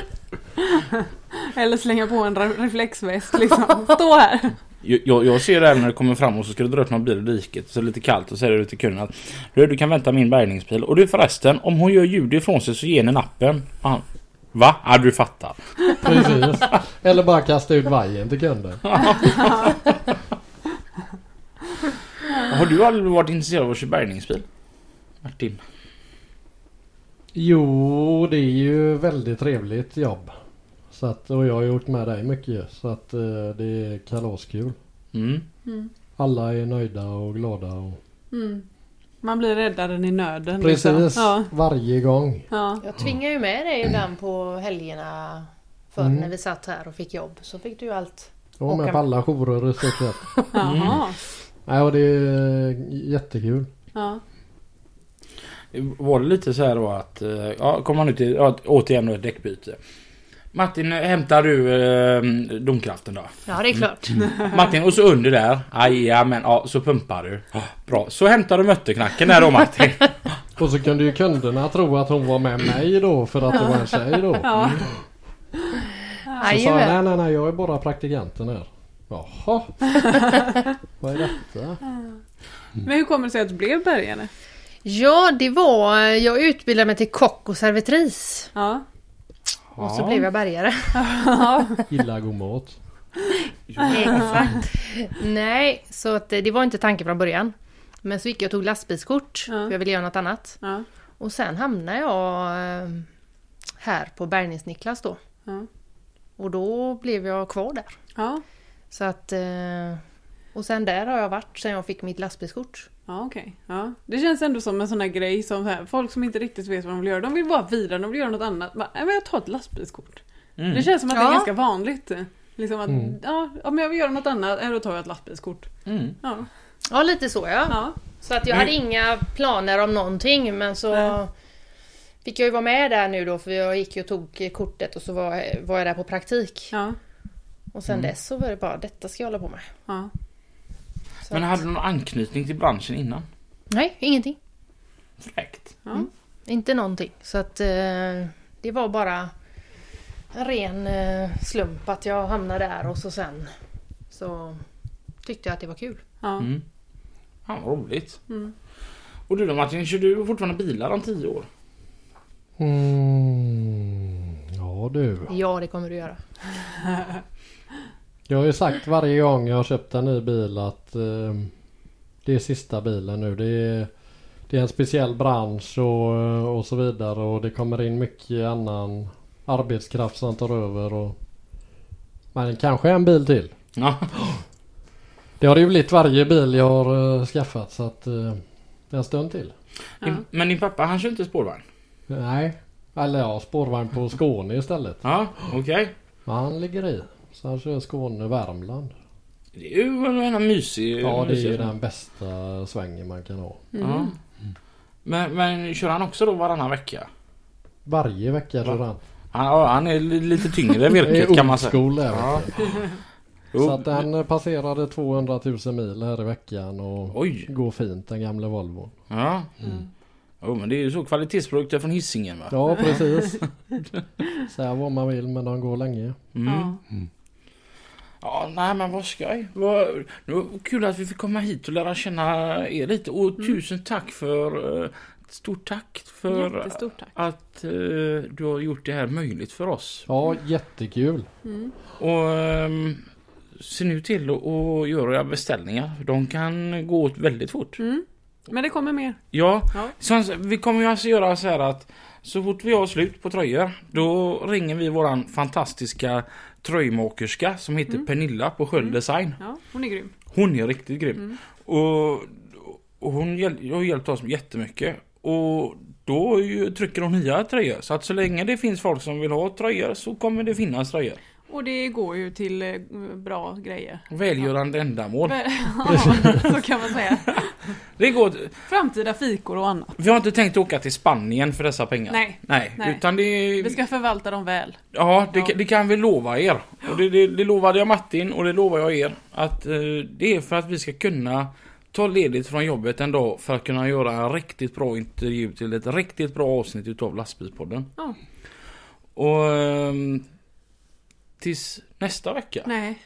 [SPEAKER 1] Eller slänga på en re- reflexväst liksom. Stå här!
[SPEAKER 2] Jag, jag- jag ser det även när du kommer fram och så ska du dra upp någon bil ur diket så är det lite kallt och säger du till kunden att du, du kan vänta min bärgningsbil och du förresten om hon gör ljud ifrån sig så ge henne nappen. Och han, Va? Ja du fattar.
[SPEAKER 4] Precis. Eller bara kasta ut vajern till kunden.
[SPEAKER 2] Har du aldrig varit intresserad av att köra bärgningsbil? Martin?
[SPEAKER 4] Jo, det är ju väldigt trevligt jobb. Så att, och jag har gjort med dig mycket ju, så att eh, det är kalaskul.
[SPEAKER 2] Mm.
[SPEAKER 1] Mm.
[SPEAKER 4] Alla är nöjda och glada. Och...
[SPEAKER 1] Mm. Man blir räddaren i nöden.
[SPEAKER 4] Precis,
[SPEAKER 1] Liksom. Ja.
[SPEAKER 4] varje gång.
[SPEAKER 1] Ja.
[SPEAKER 3] Jag tvingar ju med dig ibland på helgerna förr
[SPEAKER 4] Mm.
[SPEAKER 3] när vi satt här och fick jobb. Så fick du ju allt.
[SPEAKER 4] Jag var
[SPEAKER 3] Och
[SPEAKER 4] med
[SPEAKER 3] en-
[SPEAKER 4] på alla jourer i stort sett. Mm.
[SPEAKER 1] Jaha.
[SPEAKER 4] Nej, och det är eh, jättekul.
[SPEAKER 1] Ja.
[SPEAKER 2] Var det lite så här då att... eh, Ja, kom man ut till... Ja, återigen då ett däckbyte. Martin, eh, hämtar du eh, domkraften då?
[SPEAKER 3] Ja, det är klart.
[SPEAKER 4] Mm.
[SPEAKER 2] Martin, och så under där. Aj, men ja, så pumpar du. Ja, Bra. Så hämtar du mötteknacken där då Martin.
[SPEAKER 4] Och så kunde ju kunderna tro att hon var med mig då för att det var en tjej då.
[SPEAKER 1] Ja.
[SPEAKER 4] Så sa jag
[SPEAKER 3] Jajamän.
[SPEAKER 4] nej nej nej jag är bara praktikanten här. Jaha. Vad är detta?
[SPEAKER 1] Mm. Men hur kommer det sig att du blev bärgare?
[SPEAKER 3] Ja, det var... Jag utbildade mig till kock och servitris.
[SPEAKER 1] Ja.
[SPEAKER 3] Och så blev jag bärgare.
[SPEAKER 4] Illa god mat.
[SPEAKER 3] Exakt. Nej, så att eh, det det var inte tanken från början. Men så gick jag och tog lastbilskort,
[SPEAKER 1] Ja.
[SPEAKER 3] för jag ville göra något annat.
[SPEAKER 1] Ja.
[SPEAKER 3] Och sen hamnade jag eh, här på Bärgnings-Niklas då.
[SPEAKER 1] Ja.
[SPEAKER 3] Och då blev jag kvar där.
[SPEAKER 1] Ja.
[SPEAKER 3] Så att... eh, Och sen där har jag varit sen jag fick mitt lastbilskort.
[SPEAKER 1] Ja okej. Ja. Det känns ändå som en sån här grej som så här, folk som inte riktigt vet vad de vill göra. De vill bara vila, de vill göra något annat. Bara, "Nej, men jag tar ett lastbilskort.
[SPEAKER 2] Mm.
[SPEAKER 1] Det känns som att det är
[SPEAKER 3] Ja.
[SPEAKER 1] ganska vanligt. Liksom att,
[SPEAKER 4] Mm.
[SPEAKER 1] ja, om jag vill göra något annat, eh, då tar jag ett lastbilskort.
[SPEAKER 2] Mm.
[SPEAKER 1] Ja.
[SPEAKER 3] Ja, lite så ja.
[SPEAKER 1] Ja.
[SPEAKER 3] Så att jag hade inga planer om någonting men så
[SPEAKER 1] Nej.
[SPEAKER 3] fick jag ju vara med där nu då för jag gick ju och tog kortet och så var, var jag där på praktik.
[SPEAKER 1] Ja.
[SPEAKER 3] Och sen
[SPEAKER 2] Mm.
[SPEAKER 3] dess så var det bara detta ska jag hålla på med.
[SPEAKER 1] Ja.
[SPEAKER 3] Så
[SPEAKER 2] Men
[SPEAKER 3] att-
[SPEAKER 2] hade du någon anknytning till branschen innan?
[SPEAKER 3] Nej, ingenting.
[SPEAKER 2] Fräckt.
[SPEAKER 1] Ja.
[SPEAKER 3] Inte någonting. Så att eh, det var bara en ren eh, slump att jag hamnade där och så sen så tyckte jag att det var kul.
[SPEAKER 1] Ja.
[SPEAKER 2] Mm. Fan vad roligt.
[SPEAKER 1] Mm.
[SPEAKER 2] Och du då Martin, kör du fortfarande bilar om tio år?
[SPEAKER 4] Mm, ja du.
[SPEAKER 3] Ja, det kommer du göra.
[SPEAKER 4] Jag har ju sagt varje gång jag har köpt en ny bil att eh, det är sista bilen nu. Det är, det är en speciell bransch och, och så vidare och det kommer in mycket annan arbetskraft som tar över. Och, men kanske en bil till.
[SPEAKER 2] Ja.
[SPEAKER 4] Det har det ju blivit varje bil jag har eh, skaffat så att eh, en stund till.
[SPEAKER 1] Ja.
[SPEAKER 2] Men din pappa han kör inte spårvagn?
[SPEAKER 4] Nej, eller ja spårvagn på Skåne istället.
[SPEAKER 2] Ja, okej.
[SPEAKER 4] Men han ligger i. Så han kör Skåne-Värmland.
[SPEAKER 2] Det är ju en, en mysig...
[SPEAKER 4] Ja det är ju
[SPEAKER 2] mysig-
[SPEAKER 4] den bästa svängen man kan ha.
[SPEAKER 1] Mm.
[SPEAKER 2] Ja. Men, men kör han också då varannan vecka?
[SPEAKER 4] Varje vecka kör han.
[SPEAKER 2] Han, ja, han är li- lite tyngre
[SPEAKER 4] Det
[SPEAKER 2] virket
[SPEAKER 4] är
[SPEAKER 2] kan man säga.
[SPEAKER 4] old school där,
[SPEAKER 2] Ja.
[SPEAKER 4] vet du. Så
[SPEAKER 2] Jo.
[SPEAKER 4] att den eh, passerade 200 000 mil här i veckan och
[SPEAKER 2] Oj.
[SPEAKER 4] går fint den gamla Volvo.
[SPEAKER 2] Ja. Jo men det är ju så kvalitetsprodukter från Hisingen va?
[SPEAKER 4] Ja precis. Säga vad man vill men de går länge.
[SPEAKER 2] Mm.
[SPEAKER 1] Ja.
[SPEAKER 2] Ja, nej men vad skoj. Vad, det var kul att vi fick komma hit och lära känna er lite. Och
[SPEAKER 1] Mm.
[SPEAKER 2] tusen tack för... eh, Stort tack för
[SPEAKER 1] Jättestort tack.
[SPEAKER 2] att eh, du har gjort det här möjligt för oss.
[SPEAKER 4] Ja jättekul.
[SPEAKER 1] Mm.
[SPEAKER 2] Och ehm, se nu till att att göra era beställningar. De kan gå åt väldigt fort.
[SPEAKER 1] Mm. Men det kommer mer.
[SPEAKER 2] Ja,
[SPEAKER 1] Ja.
[SPEAKER 2] Så, vi kommer ju alltså göra så här att så fort vi har slut på tröjor då ringer vi våran fantastiska tröjmakerska som heter
[SPEAKER 1] Mm.
[SPEAKER 2] Pernilla på Sköld Design.
[SPEAKER 1] Ja, hon är grym.
[SPEAKER 2] Hon är riktigt grym.
[SPEAKER 1] Mm.
[SPEAKER 2] Och, och hon hjäl- har hjälpt oss jättemycket. Och då är ju, trycker hon nya tröjor. Så att så länge det finns folk som vill ha tröjor så kommer det finnas tröjor.
[SPEAKER 1] Och det går ju till eh, bra grejer.
[SPEAKER 2] Välgörande ändamål.
[SPEAKER 1] Ja, så kan man säga.
[SPEAKER 2] Det går,
[SPEAKER 1] Framtida fikor och annat.
[SPEAKER 2] vi har inte tänkt åka till Spanien för dessa pengar.
[SPEAKER 1] Nej.
[SPEAKER 2] Nej,
[SPEAKER 1] Nej.
[SPEAKER 2] utan det...
[SPEAKER 1] Vi ska förvalta dem väl.
[SPEAKER 2] Ja, det,
[SPEAKER 1] Ja.
[SPEAKER 2] det kan vi lova er. Och det, det, det lovade jag Martin och det lovar jag er. Att eh, det är för att vi ska kunna ta ledigt från jobbet en dag för att kunna göra en riktigt bra intervju till ett riktigt bra avsnitt utav Lastbilspodden.
[SPEAKER 1] Ja.
[SPEAKER 2] Och ehm, tills nästa vecka? Nej,
[SPEAKER 1] Nej.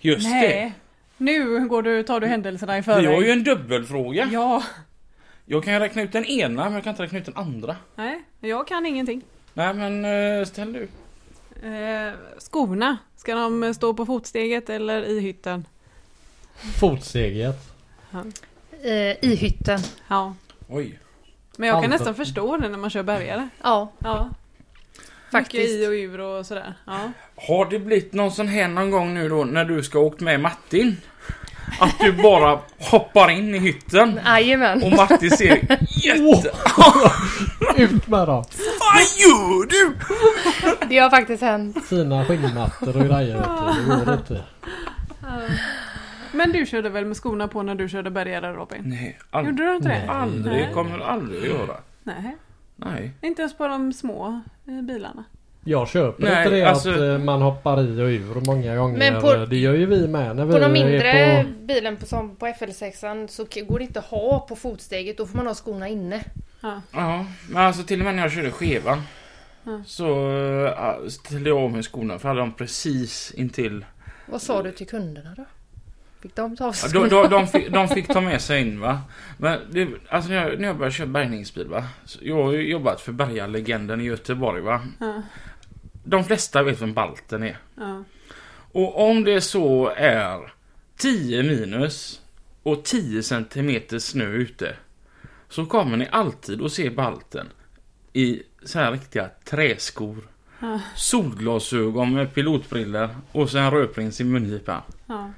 [SPEAKER 2] just
[SPEAKER 1] Nej. Nu går du, tar du händelserna i
[SPEAKER 2] det. Vi
[SPEAKER 1] förväg.
[SPEAKER 2] har ju en dubbelfråga.
[SPEAKER 1] Ja.
[SPEAKER 2] Jag kan ju räkna ut den ena men jag kan inte räkna ut den andra.
[SPEAKER 1] Nej, jag kan ingenting.
[SPEAKER 2] Nej men eh, ställ du.
[SPEAKER 1] Eh, skorna, ska eh, de stå på fotsteget eller i hytten?
[SPEAKER 4] Fotsteget.
[SPEAKER 3] eh, i hytten.
[SPEAKER 1] Ja.
[SPEAKER 2] Oj.
[SPEAKER 1] Men jag kan
[SPEAKER 4] Allt-
[SPEAKER 1] nästan förstå det när man kör bärgare.
[SPEAKER 3] Ja,
[SPEAKER 1] Ja. Mycket
[SPEAKER 3] faktiskt.
[SPEAKER 1] i och ur och sådär. Ja.
[SPEAKER 2] Har det blivit någon sån här någon gång nu då när du ska ha åkt med Martin? Att du bara hoppar in i hytten
[SPEAKER 3] Jajamän.
[SPEAKER 2] och Martin ser jätte...
[SPEAKER 4] Ut med dem!
[SPEAKER 2] Vad gör du?
[SPEAKER 3] Det har faktiskt hänt.
[SPEAKER 4] Fina skinnmattor och grejer vet du. Det går inte.
[SPEAKER 1] Eh, Men du körde väl med skorna på när du körde bärgare Robin?
[SPEAKER 2] Nej, aldrig.
[SPEAKER 1] Gjorde du inte det?
[SPEAKER 4] Nej.
[SPEAKER 2] Aldrig,
[SPEAKER 1] Nej.
[SPEAKER 2] kommer aldrig att göra.
[SPEAKER 1] Nej.
[SPEAKER 2] Nej.
[SPEAKER 1] Inte ens på de små eh, bilarna.
[SPEAKER 4] Jag köper
[SPEAKER 2] Nej,
[SPEAKER 4] inte det
[SPEAKER 2] alltså-
[SPEAKER 4] att eh, man hoppar i och ur många gånger.
[SPEAKER 3] Men på-
[SPEAKER 4] det gör ju vi med när vi
[SPEAKER 3] På de mindre
[SPEAKER 4] är på...
[SPEAKER 3] bilen på, som på FL6 så k- går det inte att ha på fotsteget. Då får man ha skorna inne.
[SPEAKER 2] Ja, men alltså till och med när jag körde skevan
[SPEAKER 1] Mm.
[SPEAKER 2] så äh, ställde jag av mig skorna för jag hade dem precis intill.
[SPEAKER 3] Vad sa du till kunderna då? Fick de ta av sig
[SPEAKER 2] Ja,
[SPEAKER 3] skorna?
[SPEAKER 2] De, de, de, fick, de fick ta med sig in va. Men det, alltså när jag, när jag började köra bärgningsbil va. Så jag har ju jobbat för bärgarlegenden i Göteborg va.
[SPEAKER 1] Ja.
[SPEAKER 2] De flesta vet vem Balten är.
[SPEAKER 1] Ja.
[SPEAKER 2] Och om det så är 10 minus och 10 centimeter snö ute så kommer ni alltid att se Balten i så här riktiga träskor.
[SPEAKER 1] Ja.
[SPEAKER 2] Solglasögon med pilotbriller och så en rödprins i mungipan.
[SPEAKER 1] Ja.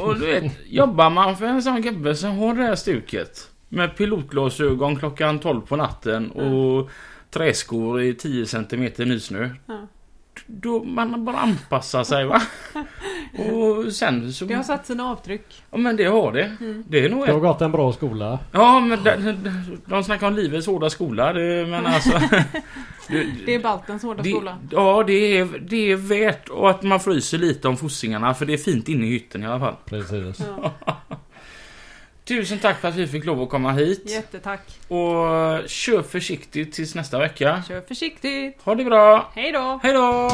[SPEAKER 2] Och du vet, jobbar man för en sån gubbe som har det här stuket med pilotglasögon klockan 12 på natten och träskor i 10 centimeter nysnö.
[SPEAKER 1] Ja.
[SPEAKER 2] Då man bara anpassar sig va. och sen så...
[SPEAKER 1] Det har satt sina avtryck.
[SPEAKER 2] Ja men det har det.
[SPEAKER 1] Mm.
[SPEAKER 2] Det är nog
[SPEAKER 4] Du har
[SPEAKER 2] ett...
[SPEAKER 4] gått en bra skola.
[SPEAKER 2] Ja men de, de snackar om livets hårda skola. Det, men alltså...
[SPEAKER 1] Det är Baltens hårda
[SPEAKER 2] Det-
[SPEAKER 1] skola.
[SPEAKER 2] Ja, det är, det är värt och att man fryser lite om fossingarna för det är fint inne i hytten i alla fall.
[SPEAKER 4] Precis.
[SPEAKER 1] Ja.
[SPEAKER 2] Tusen tack för att vi fick lov att komma hit.
[SPEAKER 1] Jättetack.
[SPEAKER 2] Och kör försiktigt tills nästa vecka.
[SPEAKER 1] Kör försiktigt.
[SPEAKER 2] Ha det bra!
[SPEAKER 1] Hej då!
[SPEAKER 2] Hej då!